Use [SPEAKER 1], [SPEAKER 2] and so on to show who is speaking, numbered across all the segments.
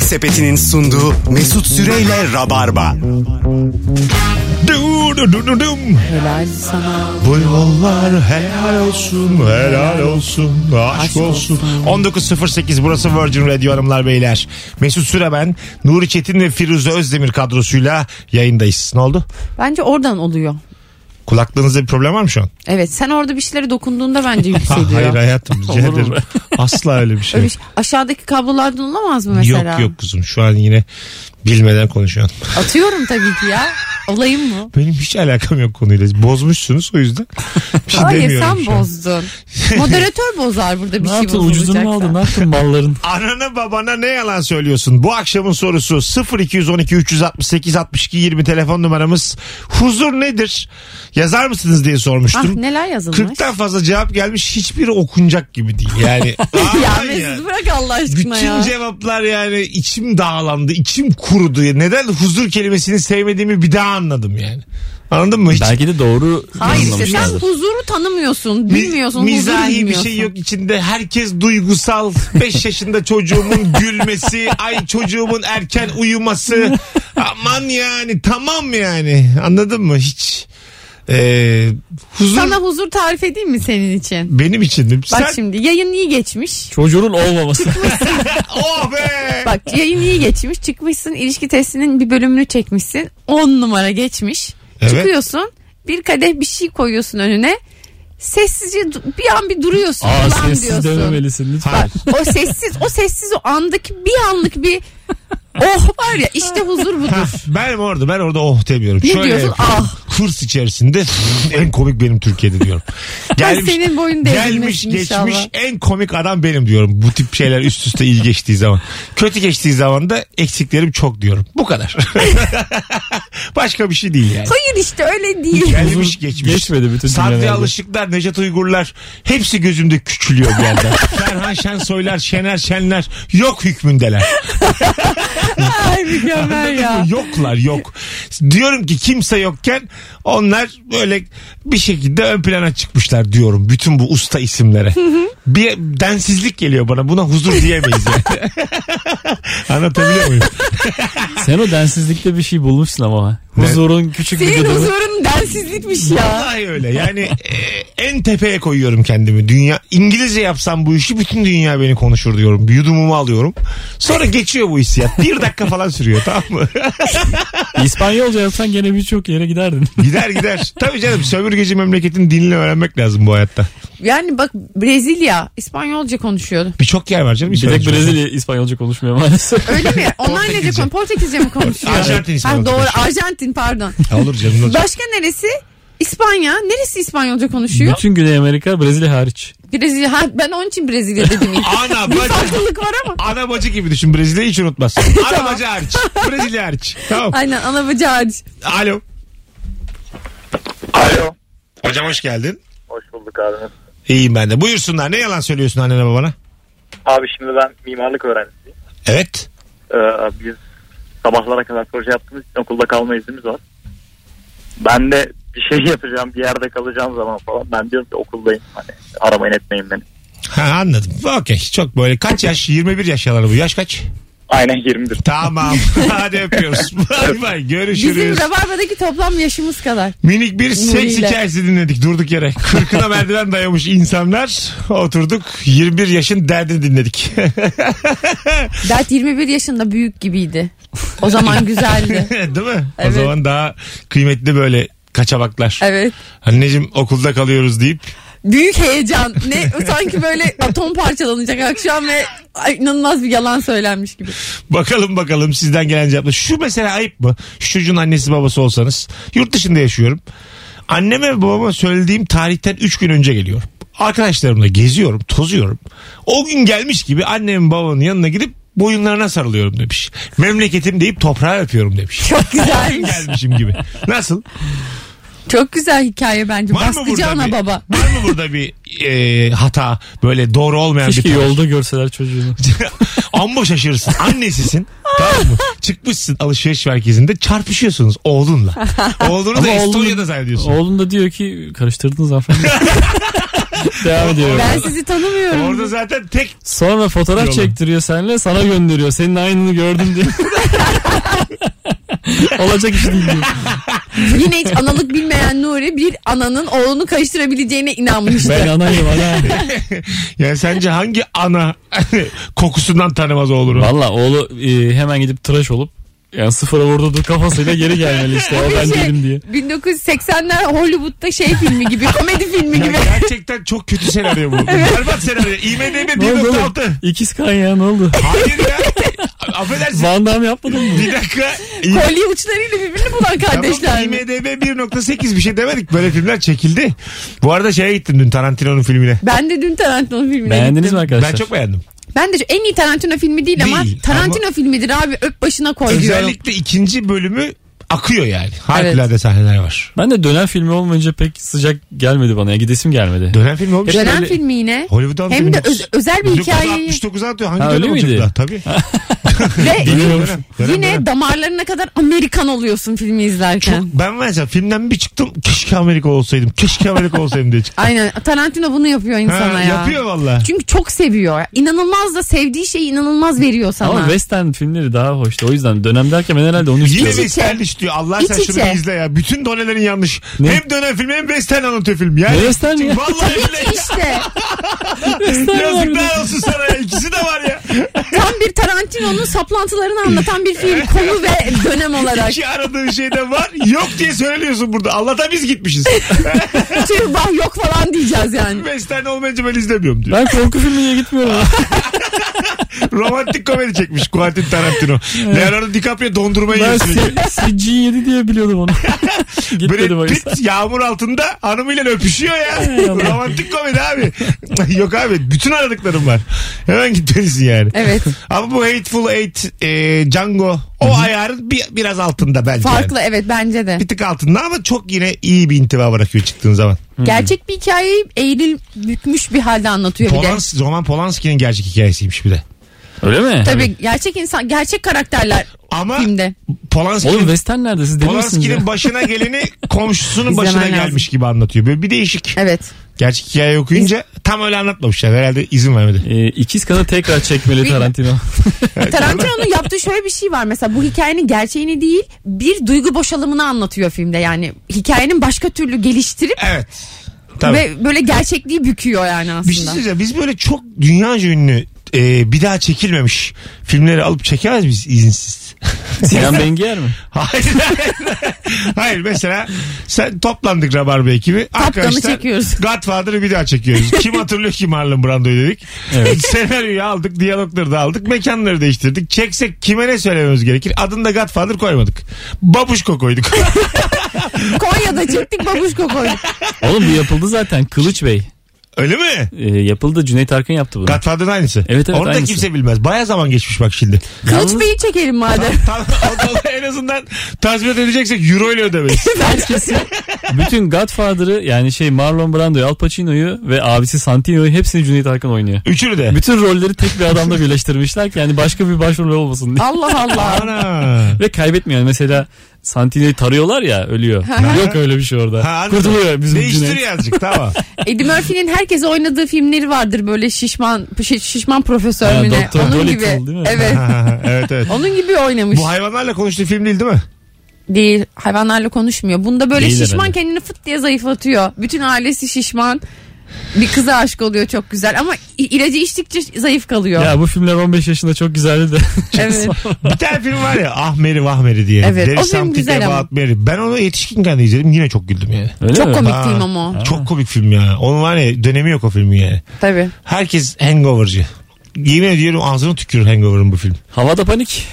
[SPEAKER 1] Sepeti'nin sunduğu Mesut Süreyle Rabarba.
[SPEAKER 2] Du, du, du, du, dum.
[SPEAKER 3] Helal sana.
[SPEAKER 2] Bu yollar helal olsun, helal olsun, aşk
[SPEAKER 3] Aşk
[SPEAKER 2] olsun.
[SPEAKER 3] olsun.
[SPEAKER 2] 19.08 burası Virgin Radio hanımlar beyler. Mesut Süre ben, Nuri Çetin ve Firuze Özdemir kadrosuyla yayındayız. Ne oldu?
[SPEAKER 3] Bence oradan oluyor.
[SPEAKER 2] Kulaklığınızda bir problem var mı şu an?
[SPEAKER 3] Evet sen orada bir şeylere dokunduğunda bence yükseliyor.
[SPEAKER 2] Hayır hayatım rica
[SPEAKER 4] Olur mu?
[SPEAKER 2] ederim. Asla öyle bir şey.
[SPEAKER 3] Öyle
[SPEAKER 2] yok.
[SPEAKER 3] bir şey- Aşağıdaki kablolardan olamaz mı şey mesela?
[SPEAKER 2] Yok yok kuzum şu an yine bilmeden konuşuyorsun.
[SPEAKER 3] Atıyorum tabii ki ya. Olayım mı?
[SPEAKER 2] Benim hiç alakam yok konuyla. Bozmuşsunuz o yüzden. Bir şey
[SPEAKER 3] Hayır
[SPEAKER 2] demiyorum
[SPEAKER 3] sen
[SPEAKER 2] şu an.
[SPEAKER 3] bozdun. Moderatör bozar burada bir
[SPEAKER 4] Ne
[SPEAKER 3] şey
[SPEAKER 4] yaptın ucuzunu mu
[SPEAKER 3] bozulacaksa.
[SPEAKER 4] aldın ne yaptın malların?
[SPEAKER 2] Anana babana ne yalan söylüyorsun? Bu akşamın sorusu 0212 368 62 20 telefon numaramız. Huzur nedir? Yazar mısınız diye
[SPEAKER 3] Ah
[SPEAKER 2] sormuştum.
[SPEAKER 3] neler yazılmış.
[SPEAKER 2] 40'tan fazla cevap gelmiş. Hiçbir okunacak gibi değil. Yani
[SPEAKER 3] ya
[SPEAKER 2] aman ya.
[SPEAKER 3] Mesut bırak Allah aşkına
[SPEAKER 2] Bütün
[SPEAKER 3] ya.
[SPEAKER 2] cevaplar yani içim dağlandı, içim kurudu. Neden huzur kelimesini sevmediğimi bir daha anladım yani. Anladın mı? Hiç
[SPEAKER 4] Belki de doğru
[SPEAKER 3] Hayır işte sen
[SPEAKER 4] anlamışlardır.
[SPEAKER 3] huzuru tanımıyorsun.
[SPEAKER 2] mi-
[SPEAKER 3] Bilmiyorsun. huzuru
[SPEAKER 2] Mizahi bir
[SPEAKER 3] bilmiyorsun.
[SPEAKER 2] şey yok içinde. Herkes duygusal. 5 yaşında çocuğumun gülmesi, ay çocuğumun erken uyuması. Aman yani tamam yani. Anladın mı? Hiç Ee, huzur
[SPEAKER 3] Sana huzur tarif edeyim mi senin için?
[SPEAKER 2] benim için mi?
[SPEAKER 3] Bak
[SPEAKER 2] Sen,
[SPEAKER 3] şimdi yayın iyi geçmiş.
[SPEAKER 4] Çocuğun olmaması.
[SPEAKER 2] oh be!
[SPEAKER 3] Bak yayın iyi geçmiş. Çıkmışsın ilişki testinin bir bölümünü çekmişsin. 10 numara geçmiş.
[SPEAKER 2] Evet.
[SPEAKER 3] Çıkıyorsun. Bir kadeh bir şey koyuyorsun önüne. Sessizce du- bir an bir duruyorsun.
[SPEAKER 4] Aa
[SPEAKER 3] "Ulan"
[SPEAKER 4] sessiz dememelisin lütfen.
[SPEAKER 2] Hayır.
[SPEAKER 3] O sessiz, o sessiz o andaki bir anlık bir oh var ya işte huzur
[SPEAKER 2] Ha,
[SPEAKER 3] budur.
[SPEAKER 2] ben orada ben orada oh demiyorum.
[SPEAKER 3] Ne
[SPEAKER 2] Şöyle
[SPEAKER 3] diyorsun? Ah.
[SPEAKER 2] yapıyorum. Hırs içerisinde en komik benim Türkiye'de diyorum.
[SPEAKER 3] senin boyun devrilmesin
[SPEAKER 2] gelmiş geçmiş
[SPEAKER 3] inşallah.
[SPEAKER 2] en komik adam benim diyorum. Bu tip şeyler üst üste iyi geçtiği zaman. Kötü geçtiği zaman da eksiklerim çok diyorum. Bu kadar. Başka bir şey değil yani.
[SPEAKER 3] Hayır işte öyle değil.
[SPEAKER 2] Gelmiş geçmiş.
[SPEAKER 4] geçmedi bütün
[SPEAKER 2] Sadri
[SPEAKER 4] dünyalarda.
[SPEAKER 2] Alışıklar, Necdet Uygurlar hepsi gözümde küçülüyor bir yerden. Ferhan Şensoylar, Şener Şenler yok hükmündeler.
[SPEAKER 3] Ay mükemmel ya.
[SPEAKER 2] Yoklar yok. Diyorum ki kimse yokken onlar böyle bir şekilde ön plana çıkmışlar diyorum. Bütün bu usta isimlere. bir densizlik geliyor bana. Buna huzur diyemeyiz. Yani. Anlatabiliyor muyum?
[SPEAKER 4] Sen o densizlikte bir şey bulmuşsun ama. Huzurun küçük bir
[SPEAKER 3] Senin
[SPEAKER 4] gıdığı.
[SPEAKER 3] huzurun densizlikmiş ya.
[SPEAKER 2] Vallahi öyle. Yani e, en tepeye koyuyorum kendimi. Dünya İngilizce yapsam bu işi bütün dünya beni konuşur diyorum. Bir Yudumumu alıyorum. Sonra geçiyor bu hissiyat. Bir dakika falan sürüyor tamam mı?
[SPEAKER 4] İspanyolca yapsan gene birçok yere giderdin.
[SPEAKER 2] gider gider. Tabii canım sömürgeci memleketin dilini öğrenmek lazım bu hayatta.
[SPEAKER 3] Yani bak Brezilya İspanyolca konuşuyor.
[SPEAKER 2] Birçok yer var canım.
[SPEAKER 4] Bir tek
[SPEAKER 2] İspanyolca.
[SPEAKER 4] Brezilya İspanyolca konuşmuyor maalesef.
[SPEAKER 3] Öyle mi? Onlar ne
[SPEAKER 2] Portekizce.
[SPEAKER 3] diyor? Portekizce mi konuşuyor?
[SPEAKER 2] Arjantin
[SPEAKER 3] Ha,
[SPEAKER 2] İspanyolca
[SPEAKER 3] doğru
[SPEAKER 2] konuşuyor.
[SPEAKER 3] Arjantin pardon.
[SPEAKER 2] Ya Olur canım. ne olacak?
[SPEAKER 3] Başka neresi? İspanya. Neresi İspanyolca konuşuyor?
[SPEAKER 4] Bütün Güney Amerika Brezilya hariç.
[SPEAKER 3] Brezilya. Ha, ben onun için Brezilya dedim. ilk.
[SPEAKER 2] Ana
[SPEAKER 3] bir
[SPEAKER 2] bacı.
[SPEAKER 3] farklılık var ama.
[SPEAKER 2] Ana bacı gibi düşün Brezilya'yı hiç unutmazsın. Ana bacı hariç. Brezilya hariç. Tamam.
[SPEAKER 3] Aynen ana bacı hariç.
[SPEAKER 2] Alo.
[SPEAKER 5] Alo.
[SPEAKER 2] Hocam hoş geldin.
[SPEAKER 5] Hoş bulduk abi.
[SPEAKER 2] İyiyim ben de. Buyursunlar. Ne yalan söylüyorsun annene babana?
[SPEAKER 5] Abi şimdi ben mimarlık öğrencisiyim.
[SPEAKER 2] Evet.
[SPEAKER 5] Ee, biz sabahlara kadar proje yaptığımız için okulda kalma iznimiz var. Ben de bir şey yapacağım bir yerde kalacağım zaman falan ben diyorum ki okuldayım hani aramayın etmeyin beni.
[SPEAKER 2] Ha anladım. Okey. Çok böyle kaç yaş? 21 yaş yalanı bu. Yaş kaç?
[SPEAKER 5] Aynen 21.
[SPEAKER 2] Tamam. Hadi öpüyoruz. Bay bay. Görüşürüz.
[SPEAKER 3] Bizim Rabarba'daki toplam yaşımız kadar.
[SPEAKER 2] Minik bir seks
[SPEAKER 3] Nuriyle.
[SPEAKER 2] hikayesi dinledik durduk yere. Kırkına merdiven dayamış insanlar. Oturduk 21 yaşın derdini dinledik.
[SPEAKER 3] Dert 21 yaşında büyük gibiydi. O zaman güzeldi.
[SPEAKER 2] Değil mi?
[SPEAKER 3] Evet.
[SPEAKER 2] O zaman daha kıymetli böyle kaçamaklar.
[SPEAKER 3] Evet.
[SPEAKER 2] Anneciğim okulda kalıyoruz deyip
[SPEAKER 3] Büyük heyecan. Ne sanki böyle atom parçalanacak akşam ve ay, inanılmaz bir yalan söylenmiş gibi.
[SPEAKER 2] bakalım bakalım sizden gelen cevaplar. Şu mesela ayıp mı? Şu çocuğun annesi babası olsanız yurt dışında yaşıyorum. Anneme ve babama söylediğim tarihten 3 gün önce geliyorum. Arkadaşlarımla geziyorum, tozuyorum. O gün gelmiş gibi annemin babamın yanına gidip boyunlarına sarılıyorum demiş. Memleketim deyip toprağa öpüyorum demiş.
[SPEAKER 3] Çok güzelmiş.
[SPEAKER 2] Gelmişim gibi. Nasıl?
[SPEAKER 3] Çok güzel hikaye bence.
[SPEAKER 2] Var mı
[SPEAKER 3] Baskıcı
[SPEAKER 2] burada
[SPEAKER 3] ana
[SPEAKER 2] bir-
[SPEAKER 3] baba.
[SPEAKER 2] Var mı burada bir e, hata böyle doğru olmayan
[SPEAKER 4] Keşke
[SPEAKER 2] bir tarih?
[SPEAKER 4] yolda görseler çocuğunu.
[SPEAKER 2] Amma şaşırırsın. Annesisin. tamam mı? Çıkmışsın alışveriş merkezinde çarpışıyorsunuz oğlunla. Oğlunu da
[SPEAKER 4] oğlun-
[SPEAKER 2] Estonya'da zannediyorsun.
[SPEAKER 4] Oğlum da diyor ki karıştırdınız hanımefendi. Devam ediyorum.
[SPEAKER 3] Ben sizi tanımıyorum.
[SPEAKER 2] Orada zaten tek
[SPEAKER 4] Sonra fotoğraf
[SPEAKER 2] Yolun.
[SPEAKER 4] çektiriyor seninle sana gönderiyor. Senin aynını gördüm diye. Olacak iş değil. diyor.
[SPEAKER 3] Yine hiç analık bilmeyen Nuri bir ananın oğlunu karıştırabileceğine inanmıştı.
[SPEAKER 4] Ben anayım ana.
[SPEAKER 2] yani sence hangi ana kokusundan tanımaz olur?
[SPEAKER 4] Valla oğlu e, hemen gidip tıraş olup yani sıfıra vurdurduğu kafasıyla geri gelmeli işte. O
[SPEAKER 3] Bir
[SPEAKER 4] ben
[SPEAKER 3] şey,
[SPEAKER 4] değilim diye.
[SPEAKER 3] 1980'ler Hollywood'da şey filmi gibi, komedi filmi gibi.
[SPEAKER 2] Gerçekten çok kötü senaryo bu. Berbat senaryo. IMDB
[SPEAKER 4] Ne oldu?
[SPEAKER 2] 1.6.
[SPEAKER 4] İkiz kan ya ne oldu?
[SPEAKER 2] Hayır ya. Affedersin.
[SPEAKER 4] Van Damme yapmadın mı?
[SPEAKER 2] Bir dakika. İ-
[SPEAKER 3] Kolye uçlarıyla birbirini bulan kardeşler.
[SPEAKER 2] Tamam,
[SPEAKER 3] mi?
[SPEAKER 2] IMDB 1.8 bir şey demedik. Böyle filmler çekildi. Bu arada şeye gittim dün Tarantino'nun filmine.
[SPEAKER 3] ben de dün Tarantino filmine
[SPEAKER 4] Beğendiniz
[SPEAKER 3] gittim.
[SPEAKER 4] mi arkadaşlar?
[SPEAKER 2] Ben çok beğendim.
[SPEAKER 3] Ben de şu- en iyi Tarantino filmi değil, ama
[SPEAKER 2] Değil,
[SPEAKER 3] Tarantino filmidir abi öp başına koy diyorum.
[SPEAKER 2] Özellikle ikinci bölümü akıyor yani. Harikulade sahneler var.
[SPEAKER 4] Ben de dönem filmi olmayınca pek sıcak gelmedi bana ya gidesim gelmedi.
[SPEAKER 2] Dönem film olmuş.
[SPEAKER 3] Dönem
[SPEAKER 4] öyle-
[SPEAKER 3] filmi yine.
[SPEAKER 2] Hollywood'dan
[SPEAKER 3] Hem de öz- özel bir hikayeyi
[SPEAKER 2] 69 atıyor. Hangi
[SPEAKER 4] Ha,
[SPEAKER 2] dönem
[SPEAKER 4] öyle miydi?
[SPEAKER 2] olacak daha? Tabii.
[SPEAKER 3] ve
[SPEAKER 2] Dönem,
[SPEAKER 4] Bilmiyorum.
[SPEAKER 2] dönem,
[SPEAKER 3] yine
[SPEAKER 2] dönem.
[SPEAKER 3] damarlarına kadar Amerikan oluyorsun filmi izlerken.
[SPEAKER 2] Çok- ben mesela filmden bir çıktım. Keşke Amerika olsaydım. Keşke Amerika olsaydım diye çıktım.
[SPEAKER 3] Aynen Tarantino bunu yapıyor insana
[SPEAKER 2] Ha,
[SPEAKER 3] ya.
[SPEAKER 2] Yapıyor valla.
[SPEAKER 3] Çünkü çok seviyor. İnanılmaz da sevdiği şeyi inanılmaz veriyor sana.
[SPEAKER 4] Ama Western filmleri daha hoştu. O yüzden dönem derken ben herhalde onu
[SPEAKER 2] Yine
[SPEAKER 4] istiyorum.
[SPEAKER 2] Western işliyor. Allah sen
[SPEAKER 3] İç
[SPEAKER 2] şunu
[SPEAKER 3] içe.
[SPEAKER 2] bir izle ya. Bütün donelerin yanlış.
[SPEAKER 4] Ne?
[SPEAKER 2] Hem dönem filmi hem Western anlatıyor film. Yani,
[SPEAKER 4] Ne Western ya?
[SPEAKER 2] Vallahi billahi.
[SPEAKER 3] İşte
[SPEAKER 2] Yazıklar olsun sana ya. İkisi de var ya.
[SPEAKER 3] tam bir Tarantino'nun saplantılarını anlatan bir film konu ve dönem olarak.
[SPEAKER 2] İki aradığın şeyde var. Yok diye söylüyorsun burada. Allah'tan biz gitmişiz.
[SPEAKER 3] Tüh bah yok falan diyeceğiz yani.
[SPEAKER 2] Western olmayınca ben izlemiyorum diyor.
[SPEAKER 4] Ben korku filmiye gitmiyorum.
[SPEAKER 2] Romantik komedi çekmiş Quentin Tarantino. Leonardo DiCaprio dondurmayı
[SPEAKER 4] ben
[SPEAKER 2] yiyor sürekli.
[SPEAKER 4] CG7 diye biliyordum onu. Gitmedim o
[SPEAKER 2] Brad
[SPEAKER 4] yüzden.
[SPEAKER 2] Pitt yağmur altında hanımıyla öpüşüyor ya. Romantik komedi abi. Yok abi bütün aradıklarım var. Hemen gitmelisin yani.
[SPEAKER 3] Evet.
[SPEAKER 2] Ama bu Hateful Eight, e, Django o ayarın bir, biraz altında bence.
[SPEAKER 3] Farklı
[SPEAKER 2] Yani.
[SPEAKER 3] evet bence de.
[SPEAKER 2] Bir tık altında ama çok yine iyi bir intiba bırakıyor çıktığın zaman.
[SPEAKER 3] Gerçek bir hikayeyi eğril bükmüş bir halde anlatıyor bir de.
[SPEAKER 2] Polans, Roman Polanski'nin gerçek hikayesiymiş bir de.
[SPEAKER 4] Öyle mi?
[SPEAKER 3] Tabii gerçek insan, gerçek karakterler
[SPEAKER 2] Ama
[SPEAKER 3] filmde.
[SPEAKER 4] Oğlum
[SPEAKER 2] Polanski'nin
[SPEAKER 4] Western nerede? Siz deli misiniz ya?
[SPEAKER 2] Polanski'nin başına geleni komşusunun
[SPEAKER 3] İzlemen
[SPEAKER 2] başına
[SPEAKER 3] lazım.
[SPEAKER 2] gelmiş gibi anlatıyor. Böyle bir değişik.
[SPEAKER 3] Evet.
[SPEAKER 2] Gerçek hikaye okuyunca tam öyle anlatmamışlar. Herhalde izin vermedi.
[SPEAKER 4] Ee, ikiz kanı tekrar çekmeli
[SPEAKER 3] Bilmiyorum.
[SPEAKER 4] Tarantino.
[SPEAKER 3] Tarantino'nun yaptığı şöyle bir şey var mesela bu hikayenin gerçeğini değil bir duygu boşalımını anlatıyor filmde yani hikayenin başka türlü geliştirip
[SPEAKER 2] Evet. Tabii.
[SPEAKER 3] ve böyle gerçekliği büküyor yani aslında.
[SPEAKER 2] Bir şey söyleyeceğim. Biz böyle çok dünya ünlü e, bir daha çekilmemiş filmleri alıp çekemez miyiz izinsiz?
[SPEAKER 4] Sinan Bengiyer mi?
[SPEAKER 2] Hayır. hayır. hayır mesela sen toplandık Rabarba ekibi. Arkadaşlar
[SPEAKER 3] çekiyoruz.
[SPEAKER 2] Godfather'ı bir daha çekiyoruz. Kim hatırlıyor ki Marlon Brando'yu dedik.
[SPEAKER 4] Evet.
[SPEAKER 2] Senaryoyu aldık, diyalogları da aldık, mekanları değiştirdik. Çeksek kime ne söylememiz gerekir? Adını da Godfather koymadık. Babuşko koyduk.
[SPEAKER 3] Konya'da çektik babuşko koyduk.
[SPEAKER 4] Oğlum bu yapıldı zaten. Kılıç Bey.
[SPEAKER 2] Öyle mi?
[SPEAKER 4] Ee, yapıldı. Cüneyt Arkın yaptı bunu.
[SPEAKER 2] Godfather'ın aynısı.
[SPEAKER 4] Evet, evet,
[SPEAKER 2] Onu da
[SPEAKER 4] aynısı.
[SPEAKER 2] kimse bilmez. Baya zaman geçmiş bak şimdi.
[SPEAKER 3] Kılıç Bey'i çekelim madem.
[SPEAKER 2] Tam- o da- en azından tazminat ödeyeceksek euro ile ödemeyiz.
[SPEAKER 4] Bütün Godfather'ı yani şey Marlon Brando'yu, Al Pacino'yu ve abisi Santino'yu hepsini Cüneyt Arkın oynuyor.
[SPEAKER 2] Üçünü de.
[SPEAKER 4] Bütün rolleri tek bir adamda birleştirmişler ki yani başka bir başrol olmasın diye.
[SPEAKER 3] Allah Allah.
[SPEAKER 2] Ana.
[SPEAKER 4] Ve kaybetmiyor. Yani Mesela Santino'yu tarıyorlar ya ölüyor. Yok öyle bir şey orada.
[SPEAKER 2] Ha, anladım.
[SPEAKER 4] Kurtuluyor bizim Cüneyt.
[SPEAKER 2] Değiştiriyor azıcık tamam.
[SPEAKER 3] Eddie Murphy'nin herkese oynadığı filmleri vardır böyle şişman şi- şişman profesör
[SPEAKER 4] Ha,
[SPEAKER 3] mü ne?
[SPEAKER 4] Doktor
[SPEAKER 3] Onun gibi.
[SPEAKER 4] Dolittle değil mi?
[SPEAKER 3] Evet.
[SPEAKER 2] evet evet.
[SPEAKER 3] Onun gibi oynamış.
[SPEAKER 2] Bu hayvanlarla konuştuğu film değil değil mi?
[SPEAKER 3] Değil. Hayvanlarla konuşmuyor. Bunda böyle
[SPEAKER 4] Değil
[SPEAKER 3] şişman
[SPEAKER 4] herhalde.
[SPEAKER 3] kendini fıt diye zayıflatıyor. Bütün ailesi şişman. Bir kıza aşık oluyor çok güzel ama i- ilacı içtikçe zayıf kalıyor.
[SPEAKER 4] Ya bu filmler 15 yaşında çok güzeldi de.
[SPEAKER 3] evet.
[SPEAKER 2] Bir tane film var ya Ah Ahmeri Vahmeri diye.
[SPEAKER 3] Evet,
[SPEAKER 2] There
[SPEAKER 3] o
[SPEAKER 2] is
[SPEAKER 3] film
[SPEAKER 2] something
[SPEAKER 3] güzel ama.
[SPEAKER 2] about Mary. Ben onu yetişkinken de izledim yine çok güldüm yani.
[SPEAKER 4] Öyle
[SPEAKER 3] çok
[SPEAKER 4] mi?
[SPEAKER 3] komik
[SPEAKER 2] Ha.
[SPEAKER 3] film ama o.
[SPEAKER 2] Çok komik film ya. Onun var ya dönemi yok o filmin yani.
[SPEAKER 3] Tabii.
[SPEAKER 2] Herkes hangovercı. Yemin ediyorum ağzını tükürür hangover'ın bu film.
[SPEAKER 4] Havada panik.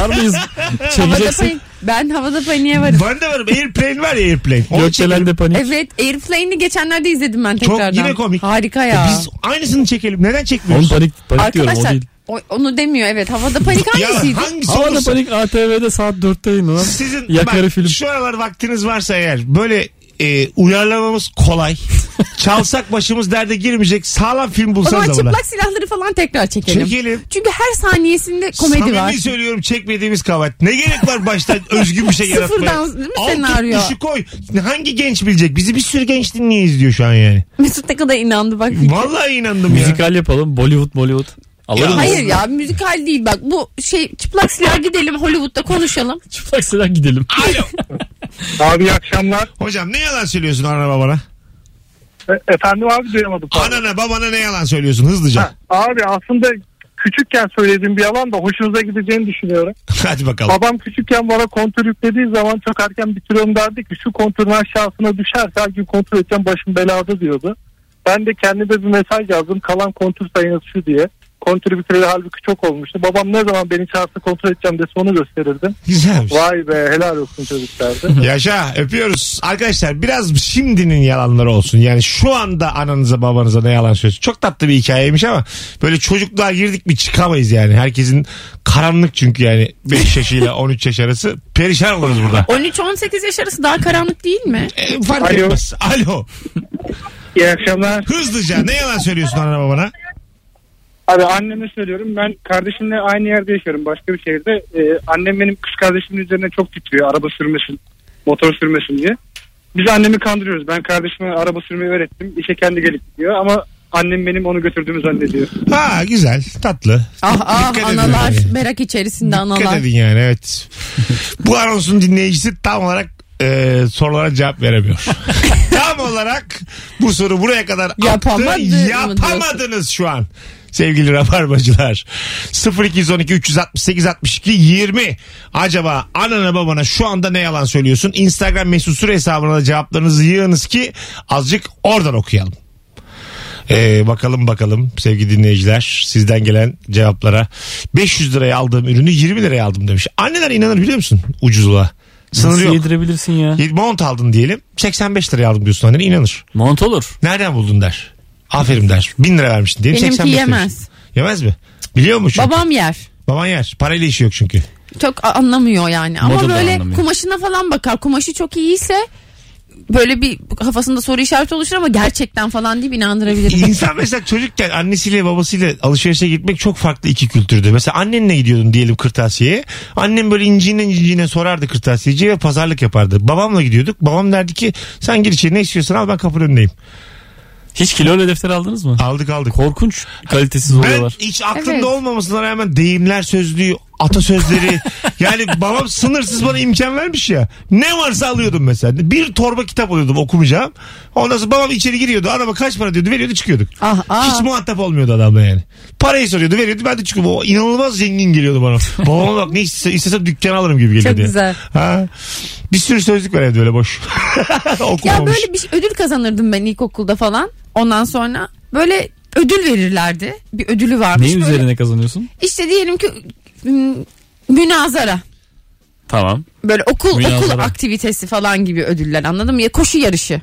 [SPEAKER 4] Var mıyız?
[SPEAKER 3] Havada
[SPEAKER 4] Çekeceksin.
[SPEAKER 3] panik. Ben havada paniğe varım.
[SPEAKER 2] Ben de varım Airplane var ya Airplane. Onu çekelim.
[SPEAKER 4] Gökçelen'de panik.
[SPEAKER 3] Evet Airplane'i geçenlerde izledim ben
[SPEAKER 2] Çok
[SPEAKER 3] tekrardan.
[SPEAKER 2] yine komik.
[SPEAKER 3] Harika
[SPEAKER 2] E
[SPEAKER 3] ya.
[SPEAKER 2] Biz aynısını çekelim. Neden
[SPEAKER 4] Onun
[SPEAKER 2] çekmiyoruz?
[SPEAKER 4] panik, panik diyorum o
[SPEAKER 3] Arkadaşlar
[SPEAKER 4] değil.
[SPEAKER 3] o- onu demiyor evet. Havada panik
[SPEAKER 2] ya
[SPEAKER 3] hangisiydi?
[SPEAKER 2] hangisi
[SPEAKER 4] Havada
[SPEAKER 3] şey.
[SPEAKER 2] olursa.
[SPEAKER 4] panik ATV'de saat 4'te yayınlanan.
[SPEAKER 2] Sizin
[SPEAKER 4] Yakarı
[SPEAKER 2] bak,
[SPEAKER 4] film.
[SPEAKER 2] şu aralar vaktiniz varsa eğer böyle e, uyarlamamız kolay. Çalsak başımız derde girmeyecek sağlam film
[SPEAKER 3] O zaman
[SPEAKER 2] bulsanız ama.
[SPEAKER 3] çıplak silahları falan tekrar çekelim.
[SPEAKER 2] Çekelim.
[SPEAKER 3] Çünkü her saniyesinde komedi
[SPEAKER 2] Samimi
[SPEAKER 3] var.
[SPEAKER 2] söylüyorum çekmediğimiz kabahat. Ne gerek var baştan özgün bir şey yaratmaya?
[SPEAKER 3] Sıfırdan, değil mi
[SPEAKER 2] Al tut
[SPEAKER 3] senaryo?
[SPEAKER 2] dışı koy. Hangi genç bilecek? Bizi bir sürü genç dinliyor izliyor şu an yani.
[SPEAKER 3] Mesut ne kadar inandı bak.
[SPEAKER 2] Vallahi inandım ya.
[SPEAKER 4] Müzikal yapalım. Bollywood, Bollywood. Alalım.
[SPEAKER 2] Ya-
[SPEAKER 4] mı?
[SPEAKER 3] Hayır ya müzikal değil bak bu şey çıplak silah gidelim Hollywood'da konuşalım.
[SPEAKER 4] Çıplak silah gidelim.
[SPEAKER 6] Abi iyi akşamlar.
[SPEAKER 2] Hocam ne yalan söylüyorsun anana babana?
[SPEAKER 6] E- efendim abi duyamadım. pardon.
[SPEAKER 2] Anana babana ne yalan söylüyorsun hızlıca?
[SPEAKER 6] Ha, abi aslında küçükken söylediğim bir yalan da hoşunuza gideceğini düşünüyorum.
[SPEAKER 2] Hadi bakalım.
[SPEAKER 6] Babam küçükken bana kontür yüklediği zaman çok erken bitiriyorum derdi ki şu kontürün aşağısına düşerse her gün kontrol edeceğim başım belada diyordu. Ben de kendime bir mesaj yazdım kalan kontür sayınız şu diye. Kontürü bitireli halbuki çok olmuştu. Babam ne zaman beni çağırsa kontrol edeceğim dese onu gösterirdim.
[SPEAKER 2] Güzelmiş.
[SPEAKER 6] Vay be helal olsun çocuklardı.
[SPEAKER 2] Yaşa öpüyoruz. Arkadaşlar biraz şimdinin yalanları olsun. Yani şu anda ananıza babanıza ne yalan söylüyorsun. Çok tatlı bir hikayeymiş ama böyle çocukluğa girdik mi çıkamayız yani. Herkesin karanlık çünkü yani 5 yaşıyla 13 yaş arası perişan oluruz burada.
[SPEAKER 3] 13-18 yaş arası daha karanlık değil mi?
[SPEAKER 2] E, fark
[SPEAKER 6] Alo.
[SPEAKER 2] etmez. Alo.
[SPEAKER 6] İyi akşamlar.
[SPEAKER 2] Hızlıca ne yalan söylüyorsun anana babana?
[SPEAKER 6] Abi anneme söylüyorum ben kardeşimle aynı yerde yaşıyorum başka bir şehirde. Ee, annem benim kız kardeşimin üzerine çok titriyor araba sürmesin, motor sürmesin diye. Biz annemi kandırıyoruz. Ben kardeşime araba sürmeyi öğrettim. İşe kendi gelip gidiyor ama annem benim onu götürdüğümü zannediyor.
[SPEAKER 2] Ha güzel tatlı.
[SPEAKER 3] Ah ah
[SPEAKER 2] Dikkat edin
[SPEAKER 3] analar
[SPEAKER 2] yani.
[SPEAKER 3] merak içerisinde
[SPEAKER 2] Dikkat
[SPEAKER 3] analar.
[SPEAKER 2] edin yani evet. Bu anonsun dinleyicisi tam olarak e, sorulara cevap veremiyor. tam olarak bu soru buraya kadar
[SPEAKER 3] Yapamadı
[SPEAKER 2] attı.
[SPEAKER 3] mı diyorsun?
[SPEAKER 2] Yapamadınız şu an. Sevgili Rabarbacılar 0212 368 62 20 acaba anana babana şu anda ne yalan söylüyorsun? Instagram mesut süre hesabına da cevaplarınızı yığınız ki azıcık oradan okuyalım. Ee, bakalım bakalım sevgili dinleyiciler sizden gelen cevaplara. 500 liraya aldığım ürünü 20 liraya aldım demiş. Anneler inanır biliyor musun ucuzluğa? Sınırı
[SPEAKER 4] Nasıl
[SPEAKER 2] yok.
[SPEAKER 4] yedirebilirsin ya?
[SPEAKER 2] Bir Mont aldın diyelim 85 liraya aldım diyorsun annene inanır.
[SPEAKER 4] Mont olur.
[SPEAKER 2] Nereden buldun der. Aferin der. 1000 lira vermişsin diyelim
[SPEAKER 3] Benimki
[SPEAKER 2] 85
[SPEAKER 3] yemez.
[SPEAKER 2] demişsin. Yemez mi? Biliyor mu? Baba.
[SPEAKER 3] Babam yer.
[SPEAKER 2] Baban yer. Parayla işi yok çünkü.
[SPEAKER 3] Çok a- anlamıyor yani. Ama
[SPEAKER 4] Moda da
[SPEAKER 3] böyle
[SPEAKER 4] anlamıyor.
[SPEAKER 3] kumaşına falan bakar. Kumaşı çok iyiyse böyle bir kafasında soru işareti oluşur ama gerçekten falan deyip inandırabilirim.
[SPEAKER 2] İnsan mesela çocukken annesiyle babasıyla alışverişe gitmek çok farklı iki kültürdü. Mesela annenle gidiyordun diyelim kırtasiyeye. Annem böyle inciğinden inciğine sorardı kırtasiyeciye ve pazarlık yapardı. Babamla gidiyorduk. Babam derdi ki sen gir içeri ne istiyorsan al ben kapının önündeyim.
[SPEAKER 4] Hiç kiloyla defter aldınız mı?
[SPEAKER 2] Aldık aldık.
[SPEAKER 4] Korkunç kalitesiz
[SPEAKER 2] Ben
[SPEAKER 4] oluyorlar.
[SPEAKER 2] hiç aklımda
[SPEAKER 3] Evet.
[SPEAKER 2] olmamasına rağmen deyimler sözlüğü, atasözleri yani babam sınırsız bana imkan vermiş ya. Ne varsa alıyordum mesela. Bir torba kitap alıyordum okumayacağım. Ondan sonra babam içeri giriyordu. Araba kaç para diyordu veriyordu çıkıyorduk.
[SPEAKER 3] ah
[SPEAKER 2] Hiç
[SPEAKER 3] ah.
[SPEAKER 2] muhatap olmuyordu adamla yani. Parayı soruyordu veriyordu ben de çıkıyorum. O inanılmaz zengin geliyordu bana. Babama bak ne istese, istesem dükkan alırım gibi geliyordu.
[SPEAKER 3] Çok güzel.
[SPEAKER 2] Ha. Bir sürü sözlük var evde öyle boş. Okumamış.
[SPEAKER 3] Ya böyle bir şey- ödül kazanırdım ben ilkokulda falan. Ondan sonra böyle ödül verirlerdi. Bir ödülü varmış.
[SPEAKER 4] Ne
[SPEAKER 3] Böyle
[SPEAKER 4] üzerine kazanıyorsun?
[SPEAKER 3] İşte diyelim ki m, münazara.
[SPEAKER 4] Tamam.
[SPEAKER 3] Böyle okul
[SPEAKER 4] Münazara.
[SPEAKER 3] okul aktivitesi falan gibi ödüller anladın mı? Ya koşu yarışı.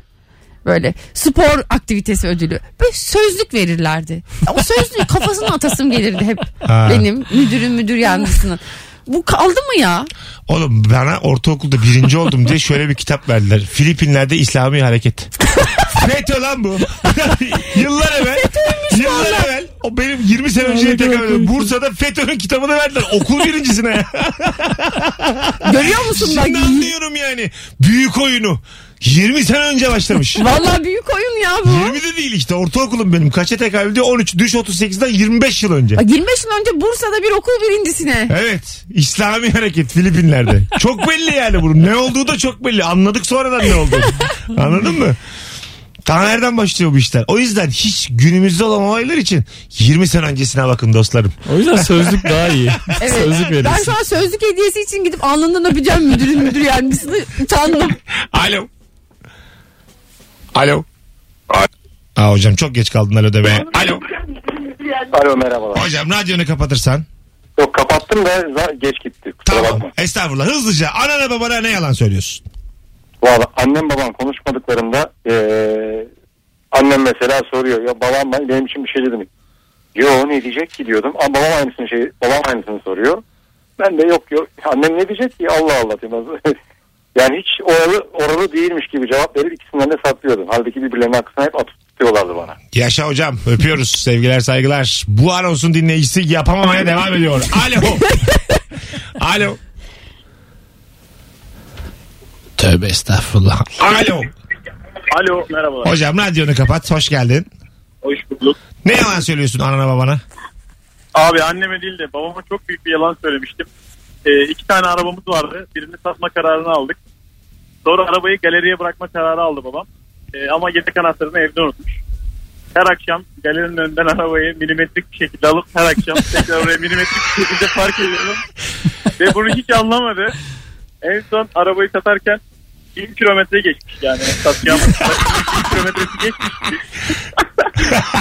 [SPEAKER 3] Böyle spor aktivitesi ödülü. Böyle sözlük verirlerdi. O sözlüğü kafasına atasım gelirdi hep.
[SPEAKER 2] Ha.
[SPEAKER 3] Benim müdürün müdür yardımcısının. Bu kaldı mı ya?
[SPEAKER 2] Oğlum bana ortaokulda birinci oldum diye şöyle bir kitap verdiler. Filipinler'de İslami Hareket. FETÖ lan bu. Yıllar evvel. yıllar evvel. O benim 20 sene önceye tekrar ediyorum. Bursa'da FETÖ'nün kitabını verdiler. Okul birincisine. ya.
[SPEAKER 3] Görüyor musun
[SPEAKER 2] Şimdi
[SPEAKER 3] bak?
[SPEAKER 2] anlıyorum yani. Büyük oyunu. 20 sene önce başlamış.
[SPEAKER 3] Vallahi büyük oyun ya bu.
[SPEAKER 2] 20 de değil işte ortaokulum benim. Kaça tekabül ediyor? 13. Düş 38'den 25 yıl önce.
[SPEAKER 3] Bak 25 yıl önce Bursa'da bir okul birincisine.
[SPEAKER 2] Evet. İslami hareket Filipinler'de. Çok belli yani bunun. Ne olduğu da çok belli. Anladık sonradan ne oldu. Anladın mı? Tam nereden başlıyor bu işler? O yüzden hiç günümüzde olan olaylar için 20 sene öncesine bakın dostlarım.
[SPEAKER 4] O yüzden sözlük daha iyi. Sözlük
[SPEAKER 3] Ben şu
[SPEAKER 4] verirsin.
[SPEAKER 3] an sözlük hediyesi için gidip alnından öpeceğim müdürün müdür yardımcısını. Utandım.
[SPEAKER 2] Alo. Alo. Aa, hocam çok geç kaldın alo demeye. Alo.
[SPEAKER 5] Alo merhabalar.
[SPEAKER 2] Hocam radyonu kapatırsan.
[SPEAKER 5] Yok kapattım ve za- geç gitti. Kusura
[SPEAKER 2] Tamam.
[SPEAKER 5] bakma.
[SPEAKER 2] Estağfurullah. Hızlıca anana babana ne yalan söylüyorsun?
[SPEAKER 5] Valla annem babam konuşmadıklarında eee, annem mesela soruyor ya babam ben- benim için bir şey dedi mi? Yo ne diyecek ki diyordum. Ama babam aynısını şey babam aynısını soruyor. Ben de yok yok annem ne diyecek ki Allah Allah diyorum. Yani hiç oralı, oralı değilmiş gibi cevap verip ikisinden de saklıyordum. Halbuki birbirlerinin arkasına hep atıp tutuyorlardı bana.
[SPEAKER 2] Yaşa hocam. Öpüyoruz. Sevgiler saygılar. Bu anonsun dinleyicisi yapamamaya devam ediyor. Alo. Alo.
[SPEAKER 7] Tövbe estağfurullah.
[SPEAKER 2] Alo.
[SPEAKER 5] Alo merhabalar.
[SPEAKER 2] Hocam radyonu kapat. Hoş geldin.
[SPEAKER 5] Hoş bulduk.
[SPEAKER 2] Ne yalan söylüyorsun anana babana?
[SPEAKER 5] Abi anneme değil de babama çok büyük bir yalan söylemiştim. Ee, iki tane arabamız vardı. Birini satma kararını aldık. Sonra arabayı galeriye bırakma kararı aldı babam. Ee, ama yedek anahtarını evde unutmuş. Her akşam galerinin önünden arabayı milimetrik bir şekilde alıp her akşam tekrar oraya milimetrik bir şekilde park ediyorum. Ve bunu hiç anlamadı. En son arabayı satarken 1000 kilometre geçmiş yani. Satacağımız 1000 kilometresi geçmiş.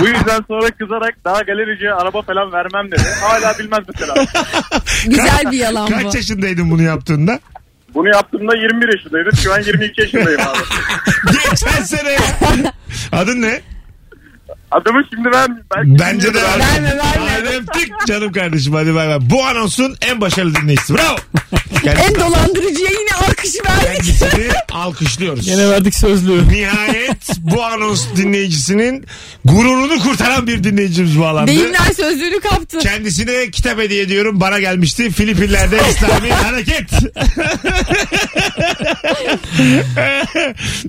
[SPEAKER 5] Bu yüzden sonra kızarak daha galericiye araba falan vermem dedi. Hala bilmez mesela.
[SPEAKER 3] Güzel bir yalan bu.
[SPEAKER 2] Kaç yaşındaydın bunu yaptığında?
[SPEAKER 5] Bunu yaptığımda 21 yaşındaydım. Şu an 22 yaşındayım abi.
[SPEAKER 2] Geçen sene ya. Adın ne?
[SPEAKER 5] Adamı şimdi ben belki
[SPEAKER 2] Bence de
[SPEAKER 5] bilmiyorum abi.
[SPEAKER 3] Verme, verme.
[SPEAKER 2] Hadi öptük canım kardeşim hadi bay bay. Bu anonsun en başarılı dinleyicisi. Bravo.
[SPEAKER 3] En
[SPEAKER 2] Kendisi-
[SPEAKER 3] dolandırıcıya yine alkış verdik.
[SPEAKER 2] Kendisini alkışlıyoruz.
[SPEAKER 4] Yine verdik sözlüğü.
[SPEAKER 2] Nihayet bu anons dinleyicisinin gururunu kurtaran bir dinleyicimiz bağlandı.
[SPEAKER 3] Deyimler sözlüğünü kaptı.
[SPEAKER 2] Kendisine kitap hediye ediyorum. Bana gelmişti. Filipinler'de İslami hareket.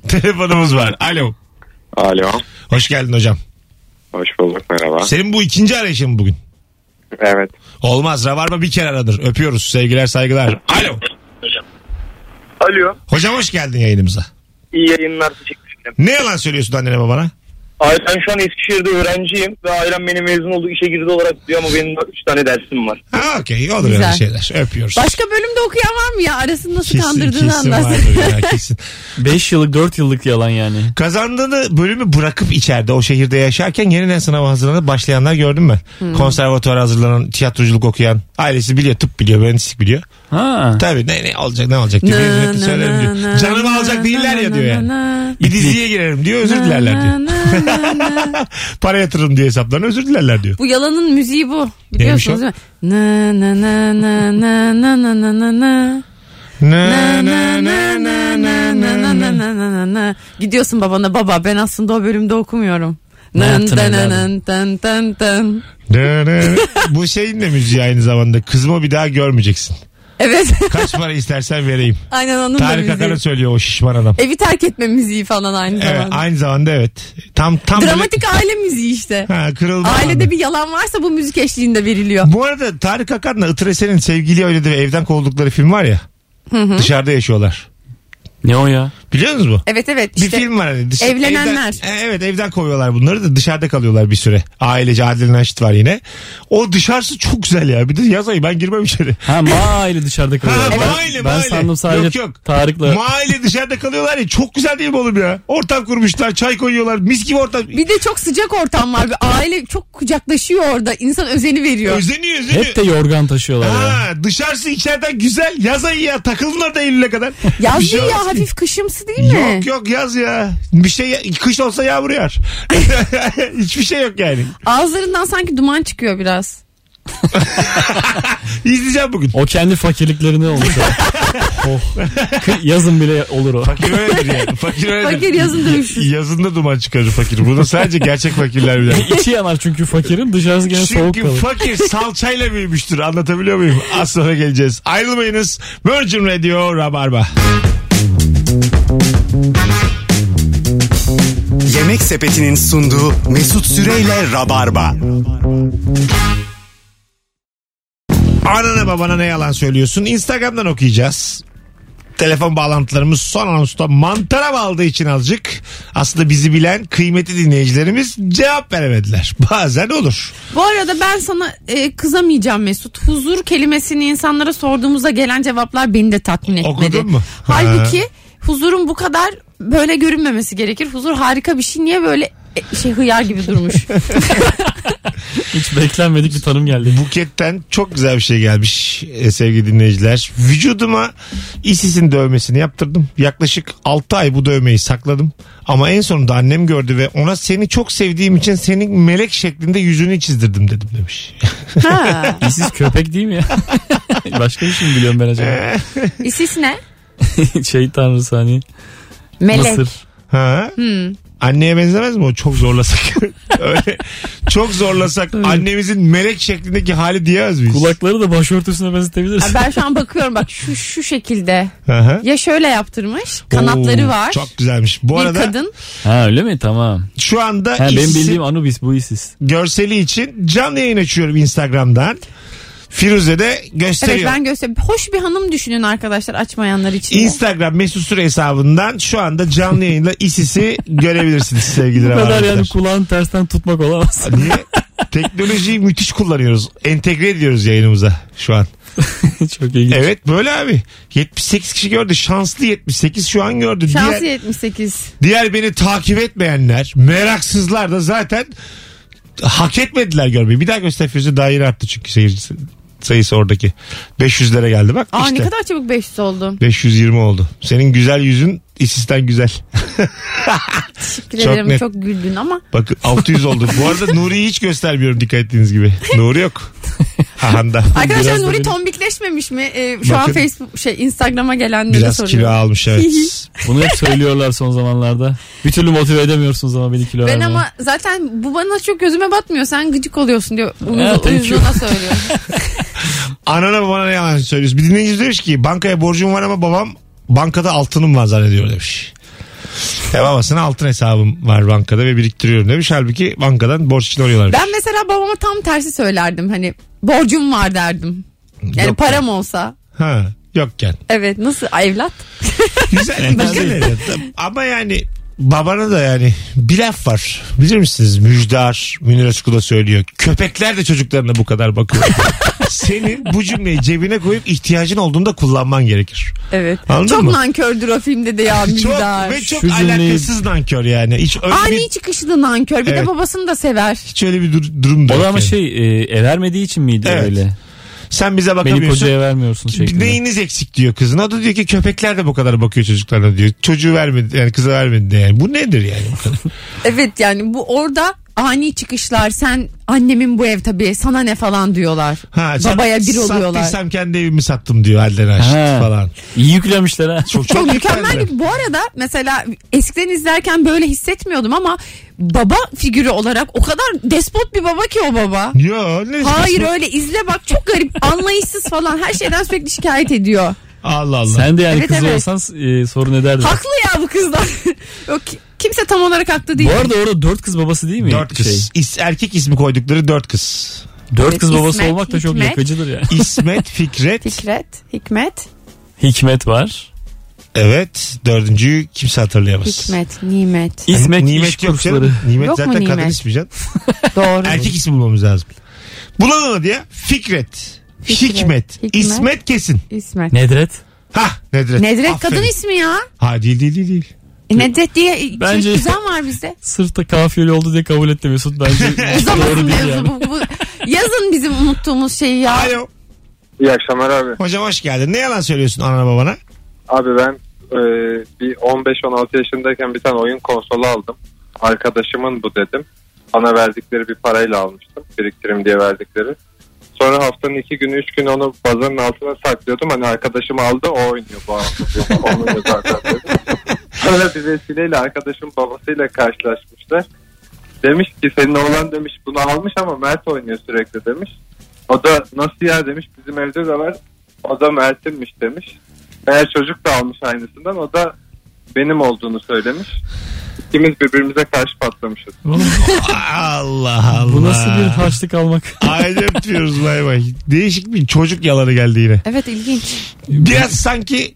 [SPEAKER 2] Telefonumuz var. Alo.
[SPEAKER 8] Alo.
[SPEAKER 2] Hoş geldin hocam.
[SPEAKER 8] Hoş bulduk merhaba.
[SPEAKER 2] Senin bu ikinci arayışın bugün.
[SPEAKER 8] Evet.
[SPEAKER 2] Olmaz. Rabarba bir kere aradır. Öpüyoruz. Sevgiler saygılar. Alo.
[SPEAKER 5] Alo.
[SPEAKER 2] Hocam hoş geldin yayınımıza.
[SPEAKER 5] İyi yayınlar. Teşekkür ederim.
[SPEAKER 2] Ne yalan söylüyorsun annene babana?
[SPEAKER 5] Ay ben şu an Eskişehir'de öğrenciyim ve ailem beni mezun olduğu işe girdi olarak diyor ama benim 3 tane dersim var.
[SPEAKER 2] Ha okey olur
[SPEAKER 3] Güzel.
[SPEAKER 2] öyle şeyler. Öpüyoruz.
[SPEAKER 3] Başka bölümde okuyan var mı ya? Arasını nasıl kandırdığını
[SPEAKER 2] kesin
[SPEAKER 3] anlarsın.
[SPEAKER 2] vardır ya, kesin.
[SPEAKER 4] 5 yıllık 4 yıllık yalan yani.
[SPEAKER 2] Kazandığını bölümü bırakıp içeride o şehirde yaşarken yeniden sınava hazırlanıp başlayanlar gördüm ben.
[SPEAKER 3] Hmm.
[SPEAKER 2] Konservatuvar hazırlanan, tiyatroculuk okuyan. Ailesi biliyor, tıp biliyor, mühendislik biliyor.
[SPEAKER 4] Ha.
[SPEAKER 2] Tabii ne ne alacak ne alacak diyor.
[SPEAKER 3] Na,
[SPEAKER 2] Özür dilerim,
[SPEAKER 3] na,
[SPEAKER 2] söylerim
[SPEAKER 3] na,
[SPEAKER 2] diyor.
[SPEAKER 3] na,
[SPEAKER 2] Canımı
[SPEAKER 3] na,
[SPEAKER 2] alacak
[SPEAKER 3] na,
[SPEAKER 2] değiller ya
[SPEAKER 3] na,
[SPEAKER 2] diyor
[SPEAKER 3] na,
[SPEAKER 2] yani.
[SPEAKER 3] na,
[SPEAKER 2] Bir diziye girerim diyor özür dilerler diyor.
[SPEAKER 3] na, na, na, na.
[SPEAKER 2] Para yatırırım diye hesaplarına özür dilerler diyor.
[SPEAKER 3] Bu yalanın müziği bu.
[SPEAKER 2] Neymiş o?
[SPEAKER 3] Biliyorsunuz değil mi? Na na na na na na na na na na. Na na na na na na na na na na na na. Gidiyorsun babana baba ben aslında o bölümde okumuyorum.
[SPEAKER 4] Ne
[SPEAKER 3] Nan
[SPEAKER 4] yaptın
[SPEAKER 3] tan
[SPEAKER 4] evladım?
[SPEAKER 3] nan tan tan tan.
[SPEAKER 2] Bu şeyin de müziği aynı zamanda. Kızımı bir daha görmeyeceksin.
[SPEAKER 3] Evet
[SPEAKER 2] Kaç para istersen vereyim.
[SPEAKER 3] aynen onun da
[SPEAKER 2] Tarık Akan'a
[SPEAKER 3] müziği.
[SPEAKER 2] söylüyor o şişman adam.
[SPEAKER 3] Evi terk etme müziği falan aynı
[SPEAKER 2] Evet,
[SPEAKER 3] zamanda.
[SPEAKER 2] Ee, aynı zamanda evet. Tam tam böyle-
[SPEAKER 3] Dramatik aile müziği işte.
[SPEAKER 2] Ha, kırıldı.
[SPEAKER 3] Ailede
[SPEAKER 2] anı.
[SPEAKER 3] bir yalan varsa bu müzik eşliğinde veriliyor.
[SPEAKER 2] Bu arada Tarık Akan'la Itır Esen'in sevgili oynadığı ve evden kovuldukları film var ya. Dışarıda yaşıyorlar.
[SPEAKER 4] Ne o ya?
[SPEAKER 2] Biliyor musunuz bu?
[SPEAKER 3] Evet evet
[SPEAKER 2] Bir
[SPEAKER 3] işte.
[SPEAKER 2] film var hani. dış-
[SPEAKER 3] Evlenenler.
[SPEAKER 2] evden- E, evet evden kovuyorlar bunları da dışarıda kalıyorlar bir süre. Ailece Adil Naşit var yine. O dışarısı çok güzel ya. Bir de yaz ayı ben girmem içeri.
[SPEAKER 4] Ha maile dışarıda kalıyor.
[SPEAKER 2] Ha,
[SPEAKER 4] Ben-
[SPEAKER 2] maile,
[SPEAKER 4] ben,
[SPEAKER 2] maile.
[SPEAKER 4] sandım sadece
[SPEAKER 2] Yok, yok.
[SPEAKER 4] Tarık'la.
[SPEAKER 2] Mahalle dışarıda kalıyorlar ya. Çok güzel değil mi oğlum ya? Ortam kurmuşlar. Çay koyuyorlar. Mis gibi ortam.
[SPEAKER 3] Bir de çok sıcak ortam var. Bir aile çok kucaklaşıyor orada. İnsan özeni veriyor.
[SPEAKER 2] Özeniyor özeniyor.
[SPEAKER 4] Hep de yorgan taşıyorlar ya.
[SPEAKER 2] Ha, dışarısı içeriden güzel. Yaz ayı ya. Takılın orada Eylül'e kadar. Bir
[SPEAKER 3] Yazın
[SPEAKER 2] şey
[SPEAKER 3] ya
[SPEAKER 2] olmaz.
[SPEAKER 3] hafif kışımsı değil mi?
[SPEAKER 2] Yok yok yaz ya. Bir şey kış olsa yağmur yağar. Hiçbir şey yok yani.
[SPEAKER 3] Ağızlarından sanki duman çıkıyor biraz.
[SPEAKER 2] İzleyeceğim bugün.
[SPEAKER 4] O kendi fakirliklerine olmuş. ya. oh. Kı- Yazın bile olur o.
[SPEAKER 2] Fakir öyledir yani. Fakir öyledir.
[SPEAKER 3] Fakir yazın dövüşsün.
[SPEAKER 2] Yazında duman çıkarır fakir. Bunu sadece gerçek fakirler bilir.
[SPEAKER 4] İçi yanar çünkü fakirin dışarısı gene soğuk
[SPEAKER 2] Çünkü
[SPEAKER 4] kalır.
[SPEAKER 2] fakir salçayla büyümüştür. Anlatabiliyor muyum? Az sonra geleceğiz. Ayrılmayınız. Virgin Radio Rabarba.
[SPEAKER 1] Yemek Sepeti'nin sunduğu Mesut Süreyle Rabarba.
[SPEAKER 2] Anana babana ne yalan söylüyorsun? Instagram'dan okuyacağız. Telefon bağlantılarımız son anonsta mantara aldığı için azıcık aslında bizi bilen kıymeti dinleyicilerimiz cevap veremediler. Bazen olur.
[SPEAKER 3] Bu arada ben sana e, kızamayacağım Mesut. Huzur kelimesini insanlara sorduğumuzda gelen cevaplar beni de tatmin etmedi.
[SPEAKER 2] Okudun mu?
[SPEAKER 3] Halbuki huzurun bu kadar böyle görünmemesi gerekir. Huzur harika bir şey. Niye böyle e, şey hıyar gibi durmuş?
[SPEAKER 4] Hiç beklenmedik bir tanım geldi.
[SPEAKER 2] Buket'ten çok güzel bir şey gelmiş e, sevgili dinleyiciler. Vücuduma ISIS'in dövmesini yaptırdım. Yaklaşık 6 ay bu dövmeyi sakladım. Ama en sonunda annem gördü ve ona seni çok sevdiğim için senin melek şeklinde yüzünü çizdirdim dedim demiş.
[SPEAKER 3] ha.
[SPEAKER 4] Siz köpek değil mi ya? Başka bir şey mi biliyorum ben acaba?
[SPEAKER 3] İsis ne?
[SPEAKER 4] şey tanrısı hani.
[SPEAKER 3] Melek.
[SPEAKER 4] Mısır.
[SPEAKER 2] Ha?
[SPEAKER 3] Hmm.
[SPEAKER 2] Anneye benzemez mi o çok zorlasak? Öyle çok zorlasak annemizin melek şeklindeki hali diyemez miyiz?
[SPEAKER 4] Kulakları da başörtüsüne benzetebiliriz.
[SPEAKER 3] Ha, ben şu an bakıyorum bak şu şu şekilde.
[SPEAKER 2] Hı hı.
[SPEAKER 3] Ya şöyle yaptırmış. Kanatları
[SPEAKER 2] Oo,
[SPEAKER 3] var.
[SPEAKER 2] Çok güzelmiş. Bu
[SPEAKER 3] bir
[SPEAKER 2] arada
[SPEAKER 3] kadın.
[SPEAKER 4] Ha öyle mi? Tamam.
[SPEAKER 2] şu anda
[SPEAKER 4] Ha, benim
[SPEAKER 2] işsiz-
[SPEAKER 4] bildiğim Anubis bu Isis.
[SPEAKER 2] görseli için canlı yayın açıyorum Instagram'dan. Firuze de
[SPEAKER 3] Evet
[SPEAKER 2] gösteriyor.
[SPEAKER 3] ben gösteriyorum. Hoş bir hanım düşünün arkadaşlar açmayanlar için. de.
[SPEAKER 2] Instagram Mesut Süre hesabından şu anda canlı yayında ISIS'i görebilirsiniz sevgili
[SPEAKER 4] Bu kadar
[SPEAKER 2] Rabarbacılar.
[SPEAKER 4] yani kulağın tersten tutmak olamaz.
[SPEAKER 2] Niye? Teknolojiyi müthiş kullanıyoruz. Entegre ediyoruz yayınımıza şu an.
[SPEAKER 4] Çok ilginç.
[SPEAKER 2] Evet böyle abi. 78 kişi gördü. Şanslı 78 şu an gördü.
[SPEAKER 3] Şansı
[SPEAKER 2] Diğer,
[SPEAKER 3] 78.
[SPEAKER 2] diğer beni takip etmeyenler, meraksızlar da zaten hak etmediler görmeyi. Bir daha göster Firuze daha yeni arttı çünkü seyircisi sayısı oradaki. 500'lere geldi bak.
[SPEAKER 3] Aa
[SPEAKER 2] işte.
[SPEAKER 3] ne kadar çabuk 500 oldu.
[SPEAKER 2] 520 oldu. Senin güzel yüzün İsisten güzel.
[SPEAKER 3] Teşekkür
[SPEAKER 2] Çok
[SPEAKER 3] ederim.
[SPEAKER 2] net.
[SPEAKER 3] Çok güldün ama.
[SPEAKER 2] Bak 600 oldu. Bu arada Nuri'yi hiç göstermiyorum dikkat ettiğiniz gibi. Nuri yok. Hahanda.
[SPEAKER 3] Arkadaşlar
[SPEAKER 4] Biraz da
[SPEAKER 3] Nuri
[SPEAKER 4] benim-
[SPEAKER 3] tombikleşmemiş mi? Ee, şu
[SPEAKER 2] Bakın.
[SPEAKER 3] an Facebook şey Instagram'a gelenlere
[SPEAKER 2] Biraz
[SPEAKER 3] soruyorum.
[SPEAKER 2] kilo almış evet.
[SPEAKER 4] Bunu hep söylüyorlar son zamanlarda. Bir türlü motive edemiyorsunuz ama beni kilo
[SPEAKER 3] Ben
[SPEAKER 4] vermeye.
[SPEAKER 3] ama zaten bu bana çok gözüme batmıyor. Sen gıcık oluyorsun diyor.
[SPEAKER 4] Ha, thank
[SPEAKER 3] Uyuz-
[SPEAKER 4] you.
[SPEAKER 3] Uyuzluğuna söylüyor.
[SPEAKER 2] Anana babana ne yalan söylüyorsun. Bir dinleyicimiz demiş ki bankaya borcum var ama babam bankada altınım var zannediyor demiş. Ya babasına altın hesabım var bankada ve biriktiriyorum demiş. Halbuki bankadan borç için arıyorlar.
[SPEAKER 3] Ben mesela babama tam tersi söylerdim. Hani borcum var derdim. Yani
[SPEAKER 2] Yok.
[SPEAKER 3] param olsa.
[SPEAKER 2] Ha, yokken.
[SPEAKER 3] Evet nasıl Ay, evlat?
[SPEAKER 2] Güzel. güzel Ama yani babana da yani bir laf var. Bilir misiniz? Müjdar, Münir Özkul da söylüyor. Köpekler de çocuklarına bu kadar bakıyor. Senin bu cümleyi cebine koyup ihtiyacın olduğunda kullanman gerekir.
[SPEAKER 3] Evet.
[SPEAKER 2] Anladın
[SPEAKER 3] çok
[SPEAKER 2] mı?
[SPEAKER 3] nankördür o filmde de ya
[SPEAKER 2] Çok,
[SPEAKER 3] Mirdar.
[SPEAKER 2] ve çok
[SPEAKER 4] Şu cümleyi-
[SPEAKER 2] alakasız nankör yani. Hiç öyle bir,
[SPEAKER 3] Ani çıkışlı nankör. Bir
[SPEAKER 2] Evet.
[SPEAKER 3] de babasını da sever.
[SPEAKER 2] hiç öyle bir dur- durum da
[SPEAKER 4] O
[SPEAKER 2] yok
[SPEAKER 4] da ama
[SPEAKER 2] yani.
[SPEAKER 4] şey e, e, vermediği için miydi
[SPEAKER 2] Evet.
[SPEAKER 4] öyle?
[SPEAKER 2] Sen bize
[SPEAKER 4] Beni
[SPEAKER 2] bakamıyorsun.
[SPEAKER 4] kocaya vermiyorsun şeklinde.
[SPEAKER 2] Neyiniz eksik diyor kızına. O da diyor ki köpekler de bu kadar bakıyor çocuklarına diyor. Çocuğu vermedi yani kıza vermedi de yani. Bu nedir yani? bu kadar?
[SPEAKER 3] Evet yani bu orada ani çıkışlar. Sen annemin bu ev tabii sana ne falan diyorlar.
[SPEAKER 2] Ha, sat-
[SPEAKER 3] Babaya bir oluyorlar.
[SPEAKER 2] Sattıysam kendi evimi sattım diyor halden açtı
[SPEAKER 4] Ha.
[SPEAKER 2] falan.
[SPEAKER 4] İyi yüklemişler ha.
[SPEAKER 3] Çok mükemmel.
[SPEAKER 2] yüklendi.
[SPEAKER 3] bir- Bu arada mesela eskiden izlerken böyle hissetmiyordum ama baba figürü olarak o kadar despot bir baba ki o baba.
[SPEAKER 2] Yo ne
[SPEAKER 3] Hayır
[SPEAKER 2] diyorsun?
[SPEAKER 3] öyle izle bak çok garip anlayışsız falan her şeyden sürekli şikayet ediyor.
[SPEAKER 2] Allah Allah.
[SPEAKER 4] Sen de yani
[SPEAKER 3] Evet,
[SPEAKER 4] kız
[SPEAKER 3] evet.
[SPEAKER 4] olsan e, sorun ederdin.
[SPEAKER 3] Haklı ya bu kızlar. Yok kimse tam olarak haklı değil.
[SPEAKER 4] Bu arada orada dört kız babası değil mi?
[SPEAKER 2] Dört kız.
[SPEAKER 4] Şey,
[SPEAKER 2] İs- erkek ismi koydukları dört kız.
[SPEAKER 4] dört
[SPEAKER 3] Evet,
[SPEAKER 4] kız babası
[SPEAKER 3] İsmet,
[SPEAKER 4] olmak da çok
[SPEAKER 3] Hikmet.
[SPEAKER 4] yakıcıdır ya.
[SPEAKER 2] İsmet, Fikret.
[SPEAKER 3] Fikret, Hikmet,
[SPEAKER 4] Hikmet var.
[SPEAKER 2] evet. Dördüncüyü kimse hatırlayamaz.
[SPEAKER 3] Hikmet, Nimet.
[SPEAKER 4] İsmet iş
[SPEAKER 2] nimet yok
[SPEAKER 4] kursları.
[SPEAKER 2] canım. Nimet
[SPEAKER 3] Yok mu
[SPEAKER 2] zaten kadın
[SPEAKER 3] nimet?
[SPEAKER 2] ismi canım.
[SPEAKER 3] Doğru.
[SPEAKER 2] Erkek ismi bulmamız lazım. Bulamadı ya. Fikret.
[SPEAKER 3] Fikret,
[SPEAKER 2] Hikmet,
[SPEAKER 3] Hikmet.
[SPEAKER 2] İsmet kesin.
[SPEAKER 3] İsmet.
[SPEAKER 4] Nedret.
[SPEAKER 2] Hah Nedret.
[SPEAKER 3] Nedret
[SPEAKER 2] Aferin.
[SPEAKER 3] kadın ismi ya.
[SPEAKER 2] Ha değil değil değil. değil.
[SPEAKER 3] E, Nedret diye
[SPEAKER 4] Bence-
[SPEAKER 3] Bence... düzen var bizde.
[SPEAKER 4] Sırf da kafiyeli oldu diye kabul etti Mesut. Bence
[SPEAKER 3] Uzamasın
[SPEAKER 4] doğru değil
[SPEAKER 3] mevzu
[SPEAKER 4] yani.
[SPEAKER 3] bu, bu. Yazın bizim unuttuğumuz şeyi ya.
[SPEAKER 2] Alo.
[SPEAKER 8] İyi akşamlar abi.
[SPEAKER 2] Hocam hoş geldin. Ne yalan söylüyorsun anana babana?
[SPEAKER 8] Abi ben e, bir 15-16 yaşındayken bir tane oyun konsolu aldım. Arkadaşımın bu dedim. Bana verdikleri bir parayla almıştım. Biriktirim diye verdikleri. Sonra haftanın iki günü üç gün onu bazanın altına saklıyordum. Hani arkadaşım aldı o oynuyor bu hafta. diyor. Oynuyor zaten dedim. Sonra bir vesileyle arkadaşım babasıyla karşılaşmışlar. Demiş ki senin oğlan demiş bunu almış ama Mert oynuyor sürekli demiş. O da nasıl ya demiş bizim evde de var. O da Mert'inmiş demiş. Eğer çocuk da almış aynısından o da benim olduğunu söylemiş. İkimiz birbirimize karşı patlamışız.
[SPEAKER 2] Allah Allah.
[SPEAKER 4] Bu nasıl bir harçlık almak?
[SPEAKER 2] Aile öpüyoruz bay bay. Değişik bir çocuk yalanı geldi yine.
[SPEAKER 3] Evet ilginç.
[SPEAKER 2] Biraz sanki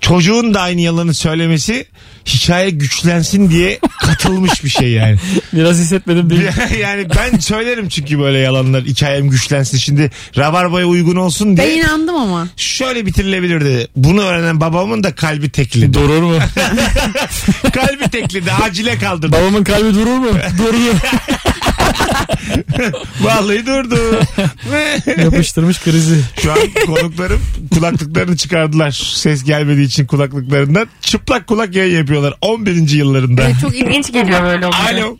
[SPEAKER 2] çocuğun da aynı yalanı söylemesi hikaye güçlensin diye katılmış bir şey yani.
[SPEAKER 4] Biraz hissetmedim değil mi?
[SPEAKER 2] yani ben söylerim çünkü böyle yalanlar hikayem güçlensin şimdi rabarbaya uygun olsun
[SPEAKER 3] Ben
[SPEAKER 2] diye.
[SPEAKER 3] inandım ama.
[SPEAKER 2] Şöyle bitirilebilirdi. Bunu öğrenen babamın da kalbi teklidi.
[SPEAKER 4] Durur mu?
[SPEAKER 2] kalbi teklidi. Acile kaldırdı.
[SPEAKER 4] Babamın kalbi durur mu? Duruyor.
[SPEAKER 2] Vallahi durdu.
[SPEAKER 4] Yapıştırmış krizi.
[SPEAKER 2] Şu an konuklarım kulaklıklarını çıkardılar. Ses gelmediği için kulaklıklarından. Çıplak kulak yayın yapıyorlar 11. yıllarında.
[SPEAKER 3] Çok ilginç geliyor böyle olunca.
[SPEAKER 2] Alo.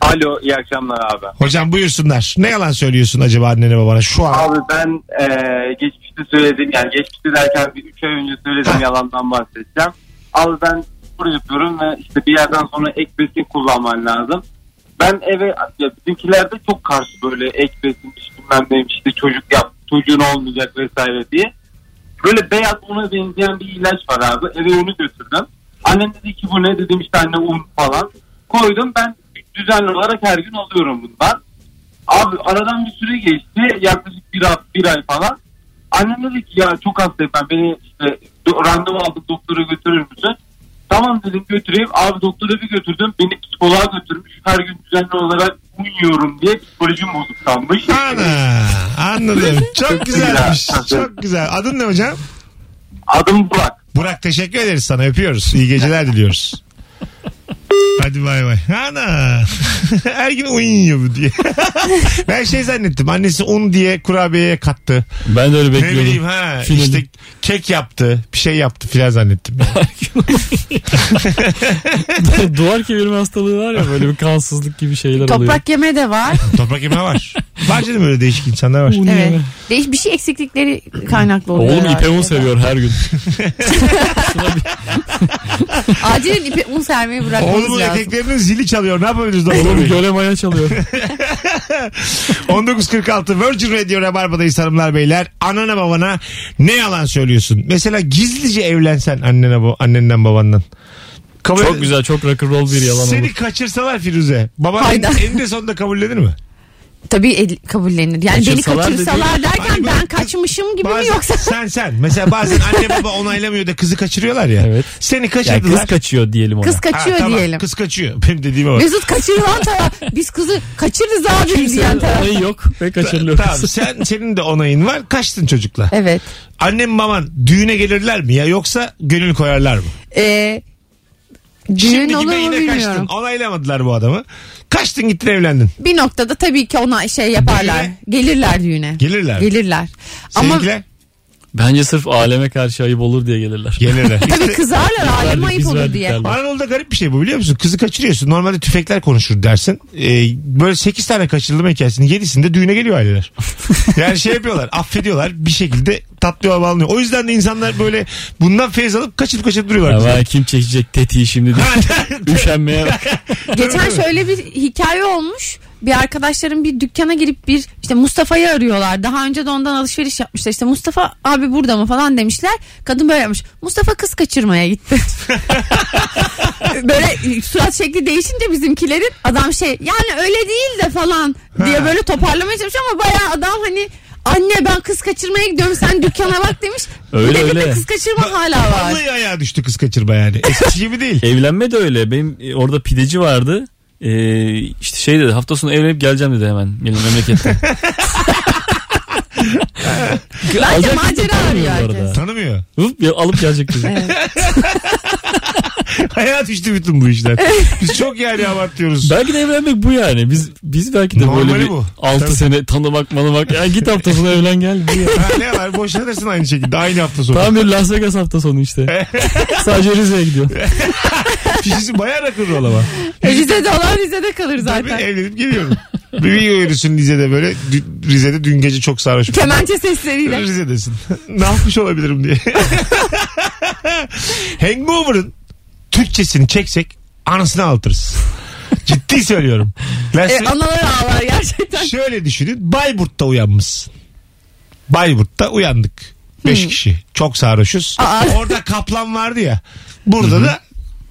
[SPEAKER 9] Alo iyi akşamlar abi.
[SPEAKER 2] Hocam buyursunlar. Ne yalan söylüyorsun acaba annene babana şu an?
[SPEAKER 9] Abi ben e, geçmişte söyledim yani geçmişte derken bir 3 ay önce söylediğim yalandan bahsedeceğim. Abi ben spor yapıyorum ve işte bir yerden sonra ek besin kullanman lazım. Ben eve ya bizimkiler de çok karşı böyle ek besinmiş bilmem neymiş işte çocuk yap çocuğun olmayacak vesaire diye. Böyle beyaz ona benzeyen bir ilaç var abi eve onu götürdüm. Annem dedi ki bu ne dedim işte anne un falan. Koydum ben düzenli olarak her gün alıyorum bundan. Abi aradan bir süre geçti. Yaklaşık bir, hafta, bir ay falan. Annem dedi ki ya çok hastayım ben. Beni işte do- randevu aldık doktora götürür müsün? Tamam dedim götüreyim. Abi doktora bir götürdüm. Beni psikoloğa götürmüş. Her gün düzenli olarak uyuyorum diye psikolojim bozuk kalmış.
[SPEAKER 2] Ana anladım. Çok güzelmiş. Çok güzel. Adın ne hocam?
[SPEAKER 9] Adım Burak.
[SPEAKER 2] Burak teşekkür ederiz sana öpüyoruz. İyi geceler diliyoruz. Hadi bay bay. Ana. Her gün uyuyor bu diye. ben şey zannettim. Annesi un diye kurabiyeye kattı.
[SPEAKER 4] Ben de öyle
[SPEAKER 2] Ne bileyim
[SPEAKER 4] bekliyordum.
[SPEAKER 2] ha.
[SPEAKER 4] Finali.
[SPEAKER 2] işte kek yaptı. Bir şey yaptı filan zannettim.
[SPEAKER 4] Duvar kemirme hastalığı var ya böyle bir kansızlık gibi şeyler oluyor.
[SPEAKER 3] Toprak yeme de var.
[SPEAKER 2] Toprak yemeği var. Var canım öyle değişik insanlar var.
[SPEAKER 4] Un
[SPEAKER 3] evet. şey
[SPEAKER 4] yeme.
[SPEAKER 3] Değiş bir şey eksiklikleri kaynaklı oluyor.
[SPEAKER 4] Oğlum
[SPEAKER 3] herhalde.
[SPEAKER 4] ipe un seviyor her gün.
[SPEAKER 3] Acilen ipe un sermeyi bırakmamız
[SPEAKER 2] Oğlumun
[SPEAKER 3] lazım.
[SPEAKER 2] eteklerinin zili çalıyor. Ne yapabiliriz? Oğlum
[SPEAKER 4] Oğlum göle maya çalıyor.
[SPEAKER 2] 1946 Virgin Radio Rabarba'dayız hanımlar beyler. Anana babana ne yalan söylüyorsun? Mesela gizlice evlensen annene bu annenden babandan. Kabul
[SPEAKER 4] Çok güzel çok rock'n'roll bir yalan
[SPEAKER 2] Seni
[SPEAKER 4] olur.
[SPEAKER 2] kaçırsalar Firuze. Baba en,
[SPEAKER 3] Hayda.
[SPEAKER 2] eninde sonunda kabullenir mi?
[SPEAKER 3] Tabii ed- kabullenir. Yani
[SPEAKER 4] Kaçırsalar da
[SPEAKER 3] beni kaçırsalar derken
[SPEAKER 2] Hayır,
[SPEAKER 3] ben
[SPEAKER 2] bak-
[SPEAKER 3] kaçmışım gibi mi
[SPEAKER 2] Bazen,
[SPEAKER 3] yoksa?
[SPEAKER 2] Sen sen. Mesela bazen anne baba onaylamıyor da kızı kaçırıyorlar ya.
[SPEAKER 4] Evet.
[SPEAKER 2] Seni
[SPEAKER 4] Ya
[SPEAKER 2] kaçırdılar.
[SPEAKER 4] kız kaçıyor diyelim ona.
[SPEAKER 3] Kız
[SPEAKER 2] Ha,
[SPEAKER 3] kaçıyor
[SPEAKER 2] tamam,
[SPEAKER 3] diyelim.
[SPEAKER 2] Kız kaçıyor. Benim dediğime bak.
[SPEAKER 3] Mesut kaçırılan taraf. Biz kızı kaçırırız abi diyen
[SPEAKER 4] Kimsenin
[SPEAKER 3] taraf.
[SPEAKER 4] olayı yok ve kaçırılıyor.
[SPEAKER 2] Tamam sen, senin de onayın var. Kaçtın çocukla.
[SPEAKER 3] Evet.
[SPEAKER 2] Annem baban düğüne gelirler mi ya yoksa gönül koyarlar mı?
[SPEAKER 3] Ee, düğün
[SPEAKER 2] Şimdi
[SPEAKER 3] olur
[SPEAKER 2] gibi
[SPEAKER 3] mu
[SPEAKER 2] yine kaçtın.
[SPEAKER 3] bilmiyorum.
[SPEAKER 2] Onaylamadılar bu adamı. Kaçtın gittin evlendin.
[SPEAKER 3] Bir noktada tabii ki ona şey yaparlar.
[SPEAKER 2] Düğüne-
[SPEAKER 3] Gelirler düğüne.
[SPEAKER 2] Gelirler.
[SPEAKER 3] Gelirler. Ama
[SPEAKER 2] Seninkiler
[SPEAKER 4] Bence sırf aleme karşı ayıp olur diye gelirler.
[SPEAKER 2] gelirler.
[SPEAKER 3] tabii kızarlar alem
[SPEAKER 4] Verdik,
[SPEAKER 3] ayıp
[SPEAKER 4] biz
[SPEAKER 3] olur
[SPEAKER 4] verdik
[SPEAKER 3] diye.
[SPEAKER 4] derler.
[SPEAKER 2] Anadolu'da garip bir şey bu biliyor musun? Kızı kaçırıyorsun. Normalde tüfekler konuşur dersin. Ee, böyle 8 tane kaçırılma hikayesinin 7'sinde düğüne geliyor aileler. yani şey yapıyorlar affediyorlar bir şekilde tatlı yol bağlanıyor. O yüzden de insanlar böyle bundan feyz alıp kaçırıp kaçırıp duruyorlar.
[SPEAKER 4] Ya ben kim çekecek tetiği şimdi diye. Üşenmeye bak.
[SPEAKER 3] Geçen şöyle bir hikaye olmuş. Bir arkadaşlarım bir dükkana girip bir işte Mustafa'yı arıyorlar. Daha önce de ondan alışveriş yapmışlar. İşte Mustafa abi burada mı falan demişler. Kadın böyle yapmış. Mustafa kız kaçırmaya gitti. böyle surat şekli değişince bizimkilerin adam şey yani öyle değil de falan diye böyle toparlamaya çalışıyor ama bayağı adam hani anne ben kız kaçırmaya gidiyorum sen dükkana bak demiş.
[SPEAKER 4] Öyle,
[SPEAKER 3] Bir de bir de
[SPEAKER 4] öyle.
[SPEAKER 3] kız kaçırma hala var.
[SPEAKER 2] Vallahi ayağa düştü kız kaçırma yani. Eskisi gibi değil.
[SPEAKER 4] Evlenme de öyle. Benim e, orada pideci vardı. Ee, işte şey dedi hafta sonu evlenip geleceğim dedi hemen benim memleketten.
[SPEAKER 3] Bence macera arıyor herkes.
[SPEAKER 2] Tanımıyor.
[SPEAKER 4] Hıp, ya, alıp gelecek dedi.
[SPEAKER 2] Hayat işte bütün bu işler. Biz çok yani abartıyoruz.
[SPEAKER 4] Belki de evlenmek bu yani. Biz biz belki de
[SPEAKER 2] Normali
[SPEAKER 4] böyle bir
[SPEAKER 2] bu.
[SPEAKER 4] 6
[SPEAKER 2] Tabii.
[SPEAKER 4] sene tanımak manımak. Ya git hafta sonu evlen gel. Bu ya.
[SPEAKER 2] Ha, ne var boşanırsın aynı şekilde aynı hafta sonu.
[SPEAKER 4] Tam bir Las Vegas hafta sonu işte. Sadece Rize'ye gidiyor.
[SPEAKER 2] Kişisi bayağı rakır rol ama.
[SPEAKER 3] E, Rize'de olan Rize'de kalır
[SPEAKER 2] Tabii
[SPEAKER 3] zaten.
[SPEAKER 2] evlenip geliyorum. Bir video yürüsün Rize'de böyle. Dü- Rize'de dün gece çok sarhoş.
[SPEAKER 3] Kemençe sesleriyle.
[SPEAKER 2] Rize'desin. ne yapmış olabilirim diye. Hangover'ın Türkçesini çeksek anasını altırız. Ciddi söylüyorum. Ben
[SPEAKER 3] E,
[SPEAKER 2] size-
[SPEAKER 3] analar ağlar gerçekten.
[SPEAKER 2] Şöyle düşünün. Bayburt'ta uyanmışsın. Bayburt'ta uyandık. Beş kişi. Çok sarhoşuz.
[SPEAKER 3] Hmm. Aa.
[SPEAKER 2] Orada kaplan vardı ya. Burada da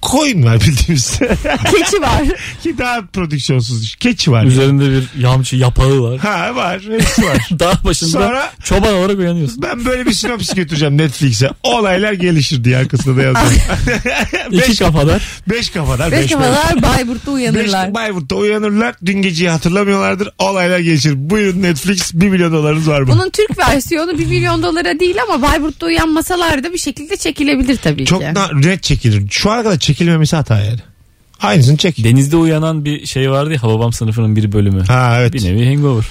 [SPEAKER 2] koyun var bildiğimiz.
[SPEAKER 3] Keçi var.
[SPEAKER 2] Ki daha prodüksiyonsuz. iş. Keçi var.
[SPEAKER 4] Üzerinde bir yamçı yapağı var.
[SPEAKER 2] Ha var. Hepsi var.
[SPEAKER 4] Dağ başında
[SPEAKER 2] Sonra-
[SPEAKER 4] çoban olarak uyanıyorsun.
[SPEAKER 2] Ben böyle bir sinopsis götüreceğim Netflix'e. Olaylar gelişir diye arkasında da yazdım.
[SPEAKER 4] İki
[SPEAKER 2] beş,
[SPEAKER 4] kafadar.
[SPEAKER 2] beş kafadar.
[SPEAKER 3] Beş kafalar Bayburt'ta
[SPEAKER 2] Beş
[SPEAKER 3] uyanırlar.
[SPEAKER 2] Bayburt'ta uyanırlar. Dün geceyi hatırlamıyorlardır. Olaylar gelişir. Buyurun Netflix 1 milyon dolarınız var mı?
[SPEAKER 3] Bunun Türk versiyonu 1 milyon dolara değil ama Bayburt'ta uyanmasalar da bir şekilde çekilebilir tabii
[SPEAKER 2] Çok
[SPEAKER 3] ki.
[SPEAKER 2] na- net çekilir. Şu ana kadar çekilmemesi hata yani. Aynısını çek.
[SPEAKER 4] Denizde uyanan bir şey vardı ya Hababam sınıfının bir bölümü.
[SPEAKER 2] Ha evet.
[SPEAKER 4] Bir nevi hangover.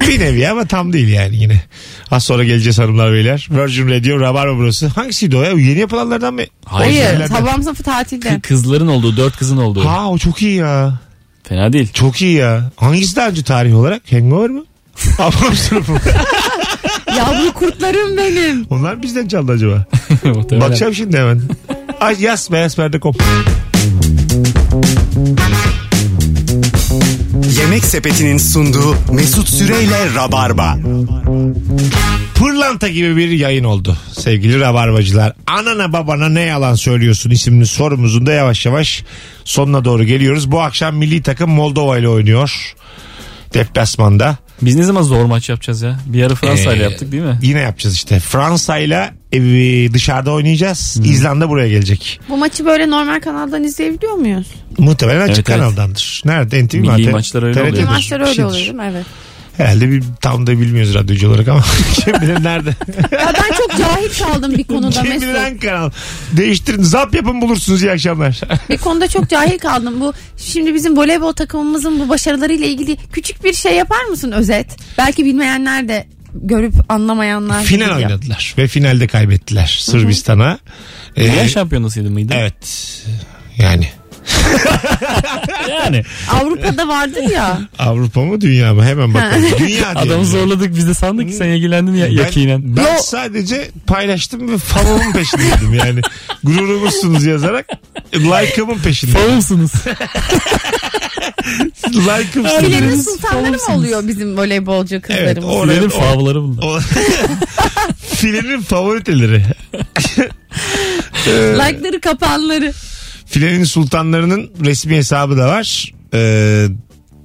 [SPEAKER 2] Bir nevi ama tam değil yani yine. Az sonra geleceğiz hanımlar beyler. Virgin Radio Rabarba burası. Hangisiydi o ya? Yeni yapılanlardan mı?
[SPEAKER 3] Hayır,
[SPEAKER 2] Orijinallerden.
[SPEAKER 3] Habam sınıfı tatilde.
[SPEAKER 4] Kı- kızların olduğu, dört kızın olduğu.
[SPEAKER 2] Ha o çok iyi ya.
[SPEAKER 4] Fena değil.
[SPEAKER 2] Çok iyi ya. Hangisi daha önce tarih olarak? Hangover mı? Ablam sınıfı mı?
[SPEAKER 3] Yavru kurtlarım benim.
[SPEAKER 2] Onlar bizden çaldı acaba?
[SPEAKER 4] Muhtemelen.
[SPEAKER 2] Bakacağım şimdi hemen. Ay yaz beyaz perde kom.
[SPEAKER 1] Yemek Sepeti'nin sunduğu Mesut Süreyle Rabarba.
[SPEAKER 2] Pırlanta gibi bir yayın oldu sevgili rabarbacılar. Anana babana ne yalan söylüyorsun isimli sorumuzun da yavaş yavaş sonuna doğru geliyoruz. Bu akşam milli takım Moldova ile oynuyor. Deplasmanda.
[SPEAKER 4] Biz ne zaman zor maç yapacağız ya? Bir ara Fransa ile
[SPEAKER 7] Ee,
[SPEAKER 4] yaptık değil mi?
[SPEAKER 2] Yine yapacağız işte. Fransa ile evi dışarıda oynayacağız. İzlanda buraya gelecek.
[SPEAKER 3] Bu maçı böyle normal kanaldan izleyebiliyor muyuz?
[SPEAKER 2] Muhtemelen açık
[SPEAKER 4] Evet, evet.
[SPEAKER 2] kanaldandır. Nerede? NTV mi?
[SPEAKER 4] Milli
[SPEAKER 2] Hatta-
[SPEAKER 4] maçlar öyle
[SPEAKER 2] TRT'dir.
[SPEAKER 4] oluyor.
[SPEAKER 2] Bir
[SPEAKER 3] Maçlar öyle
[SPEAKER 2] şeydir.
[SPEAKER 3] oluyor değil mi? Evet.
[SPEAKER 2] Herhalde bir, tam da bilmiyoruz radyocu olarak ama kim bilir nerede.
[SPEAKER 3] Ya ben çok cahil kaldım bir konuda
[SPEAKER 2] kim
[SPEAKER 3] Mesut.
[SPEAKER 2] bilir hangi kanal. Değiştirin zap yapın bulursunuz iyi akşamlar.
[SPEAKER 3] Bir konuda çok cahil kaldım. Bu şimdi bizim voleybol takımımızın bu başarılarıyla ilgili küçük bir şey yapar mısın özet? Belki bilmeyenler de görüp anlamayanlar.
[SPEAKER 2] Final
[SPEAKER 3] biliyor.
[SPEAKER 2] oynadılar ve finalde kaybettiler Sırbistan'a. Ee,
[SPEAKER 4] Dünya şampiyonasıydı mıydı?
[SPEAKER 2] evet yani
[SPEAKER 4] Yani.
[SPEAKER 3] Avrupa'da vardır ya.
[SPEAKER 2] Avrupa mı dünya mı hemen bakalım. dünya diyelim.
[SPEAKER 4] Adamı zorladık biz de sandık ki sen ilgilendin ya, yakinen.
[SPEAKER 2] Ben sadece paylaştım ve favorimin peşindeydim yani. Gururumuzsunuz yazarak like'ımın peşindeydim.
[SPEAKER 4] Favumsunuz.
[SPEAKER 3] Filenin
[SPEAKER 2] like'ımsınız.
[SPEAKER 3] sultanları mı oluyor bizim voleybolcu
[SPEAKER 2] Evet,
[SPEAKER 3] kızlarımız?
[SPEAKER 2] oraya,
[SPEAKER 4] Benim
[SPEAKER 2] o-
[SPEAKER 4] favları bunlar.
[SPEAKER 2] O- Filenin favoriteleri.
[SPEAKER 3] Like'ları kapanları.
[SPEAKER 2] Filenin sultanlarının resmi hesabı da var. Ee,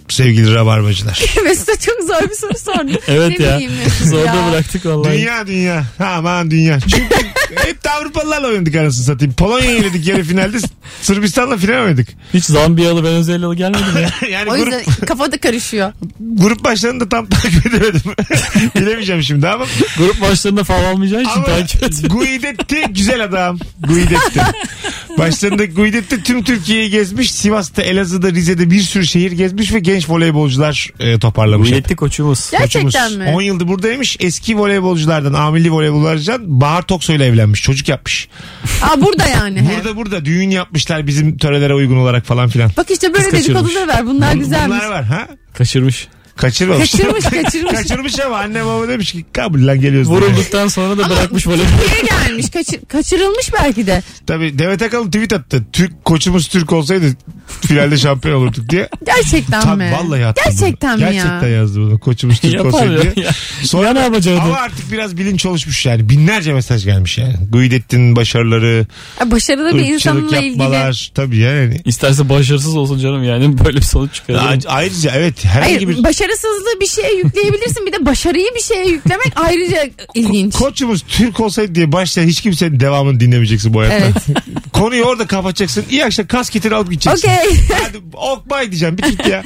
[SPEAKER 2] sevgili rabarbacılar.
[SPEAKER 3] Mesut'a çok zor bir soru sordu.
[SPEAKER 4] Evet
[SPEAKER 3] ne
[SPEAKER 4] ya.
[SPEAKER 3] bileyim Mesut
[SPEAKER 4] Zorda
[SPEAKER 3] ya.
[SPEAKER 4] bıraktık vallahi.
[SPEAKER 2] dünya dünya. Ha aman dünya. Çünkü hep de Avrupalılarla oynadık anasını satayım. Polonya'yı yedik yarı finalde. Sırbistan'la final oynadık.
[SPEAKER 4] Hiç Zambiyalı Venezuelalı gelmedi mi?
[SPEAKER 2] yani
[SPEAKER 3] O
[SPEAKER 2] grup,
[SPEAKER 3] yüzden kafada karışıyor.
[SPEAKER 2] grup başlarını da tam takip edemedim. Bilemeyeceğim şimdi ama.
[SPEAKER 4] Grup maçlarında fav almayacağın için
[SPEAKER 2] Ama
[SPEAKER 4] takip et.
[SPEAKER 2] Guidetti güzel adam. Guidetti. Başlarında Guidetti tüm Türkiye'yi gezmiş. Sivas'ta, Elazığ'da, Rize'de bir sürü şehir gezmiş ve genç voleybolcular e, toparlamış.
[SPEAKER 4] Yetti koçumuz.
[SPEAKER 2] Koçumuz
[SPEAKER 3] Gerçekten mi?
[SPEAKER 2] 10 yıldır buradaymış. Eski voleybolculardan, amilli voleybolculardan Bahar Toksoy'la evlenmiş. Çocuk yapmış.
[SPEAKER 3] Aa burada yani. he.
[SPEAKER 2] Burada burada düğün yapmışlar bizim törelere uygun olarak falan filan.
[SPEAKER 3] Bak işte böyle
[SPEAKER 4] Kız kaçırmış.
[SPEAKER 3] dedikoduları ver. Bunlar güzelmiş.
[SPEAKER 2] Bunlar var ha?
[SPEAKER 4] Kaçırmış.
[SPEAKER 2] Kaçırmamış.
[SPEAKER 3] Kaçırmış kaçırmış.
[SPEAKER 2] Kaçırmış ama anne baba demiş ki kabul lan geliyoruz. demiş.
[SPEAKER 4] Vurulduktan sonra da bırakmış böyle.
[SPEAKER 3] Niye gelmiş? Kaçır- kaçırılmış belki de.
[SPEAKER 2] Tabii Demet Akalın tweet attı. Türk koçumuz Türk olsaydı finalde şampiyon olurduk diye.
[SPEAKER 3] Gerçekten
[SPEAKER 2] Tabii
[SPEAKER 3] mi?
[SPEAKER 2] vallahi attı.
[SPEAKER 3] Gerçekten
[SPEAKER 2] bunu.
[SPEAKER 3] mi ya?
[SPEAKER 2] Gerçekten yazdı bunu. Koçumuz Türk
[SPEAKER 4] Yapar
[SPEAKER 2] olsaydı diye.
[SPEAKER 4] ya. Sonra
[SPEAKER 2] Ama
[SPEAKER 4] ne yapacaktı?
[SPEAKER 2] artık biraz bilinç oluşmuş yani. Binlerce mesaj gelmiş yani. Guidettin'in başarıları,
[SPEAKER 3] Ya Başarılı bir
[SPEAKER 2] ırkçılık
[SPEAKER 3] insanla ilgili.
[SPEAKER 2] yapmalar. Tabii yani.
[SPEAKER 4] İsterse başarısız olsun canım yani böyle bir sonuç çıkar.
[SPEAKER 2] A- Ayrıca evet herhangi
[SPEAKER 3] Hayır,
[SPEAKER 2] bir...
[SPEAKER 3] başarısızlığı bir şeye yükleyebilirsin. Bir de başarıyı bir şeye yüklemek ayrıca ilginç.
[SPEAKER 2] Koçumuz Türk olsaydı diye başlayan hiç kimsenin devamını dinlemeyeceksin bu hayatta.
[SPEAKER 3] Evet.
[SPEAKER 2] Konuyu orada kapatacaksın. İyi akşam kasketini alıp gideceksin.
[SPEAKER 3] Okey.
[SPEAKER 2] Hadi okbay diyeceğim. Bitti ya.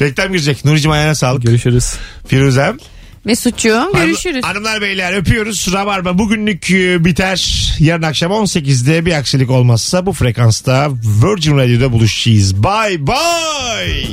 [SPEAKER 2] Reklam girecek. Nurcuğum ayağına sağlık.
[SPEAKER 4] Görüşürüz.
[SPEAKER 2] Firuzem.
[SPEAKER 3] Mesut'cuğum görüşürüz.
[SPEAKER 2] Hanım- hanımlar beyler öpüyoruz. Rabarba bugünlük e, biter. Yarın akşam 18'de bir aksilik olmazsa bu frekansta Virgin Radio'da buluşacağız. Bye bye.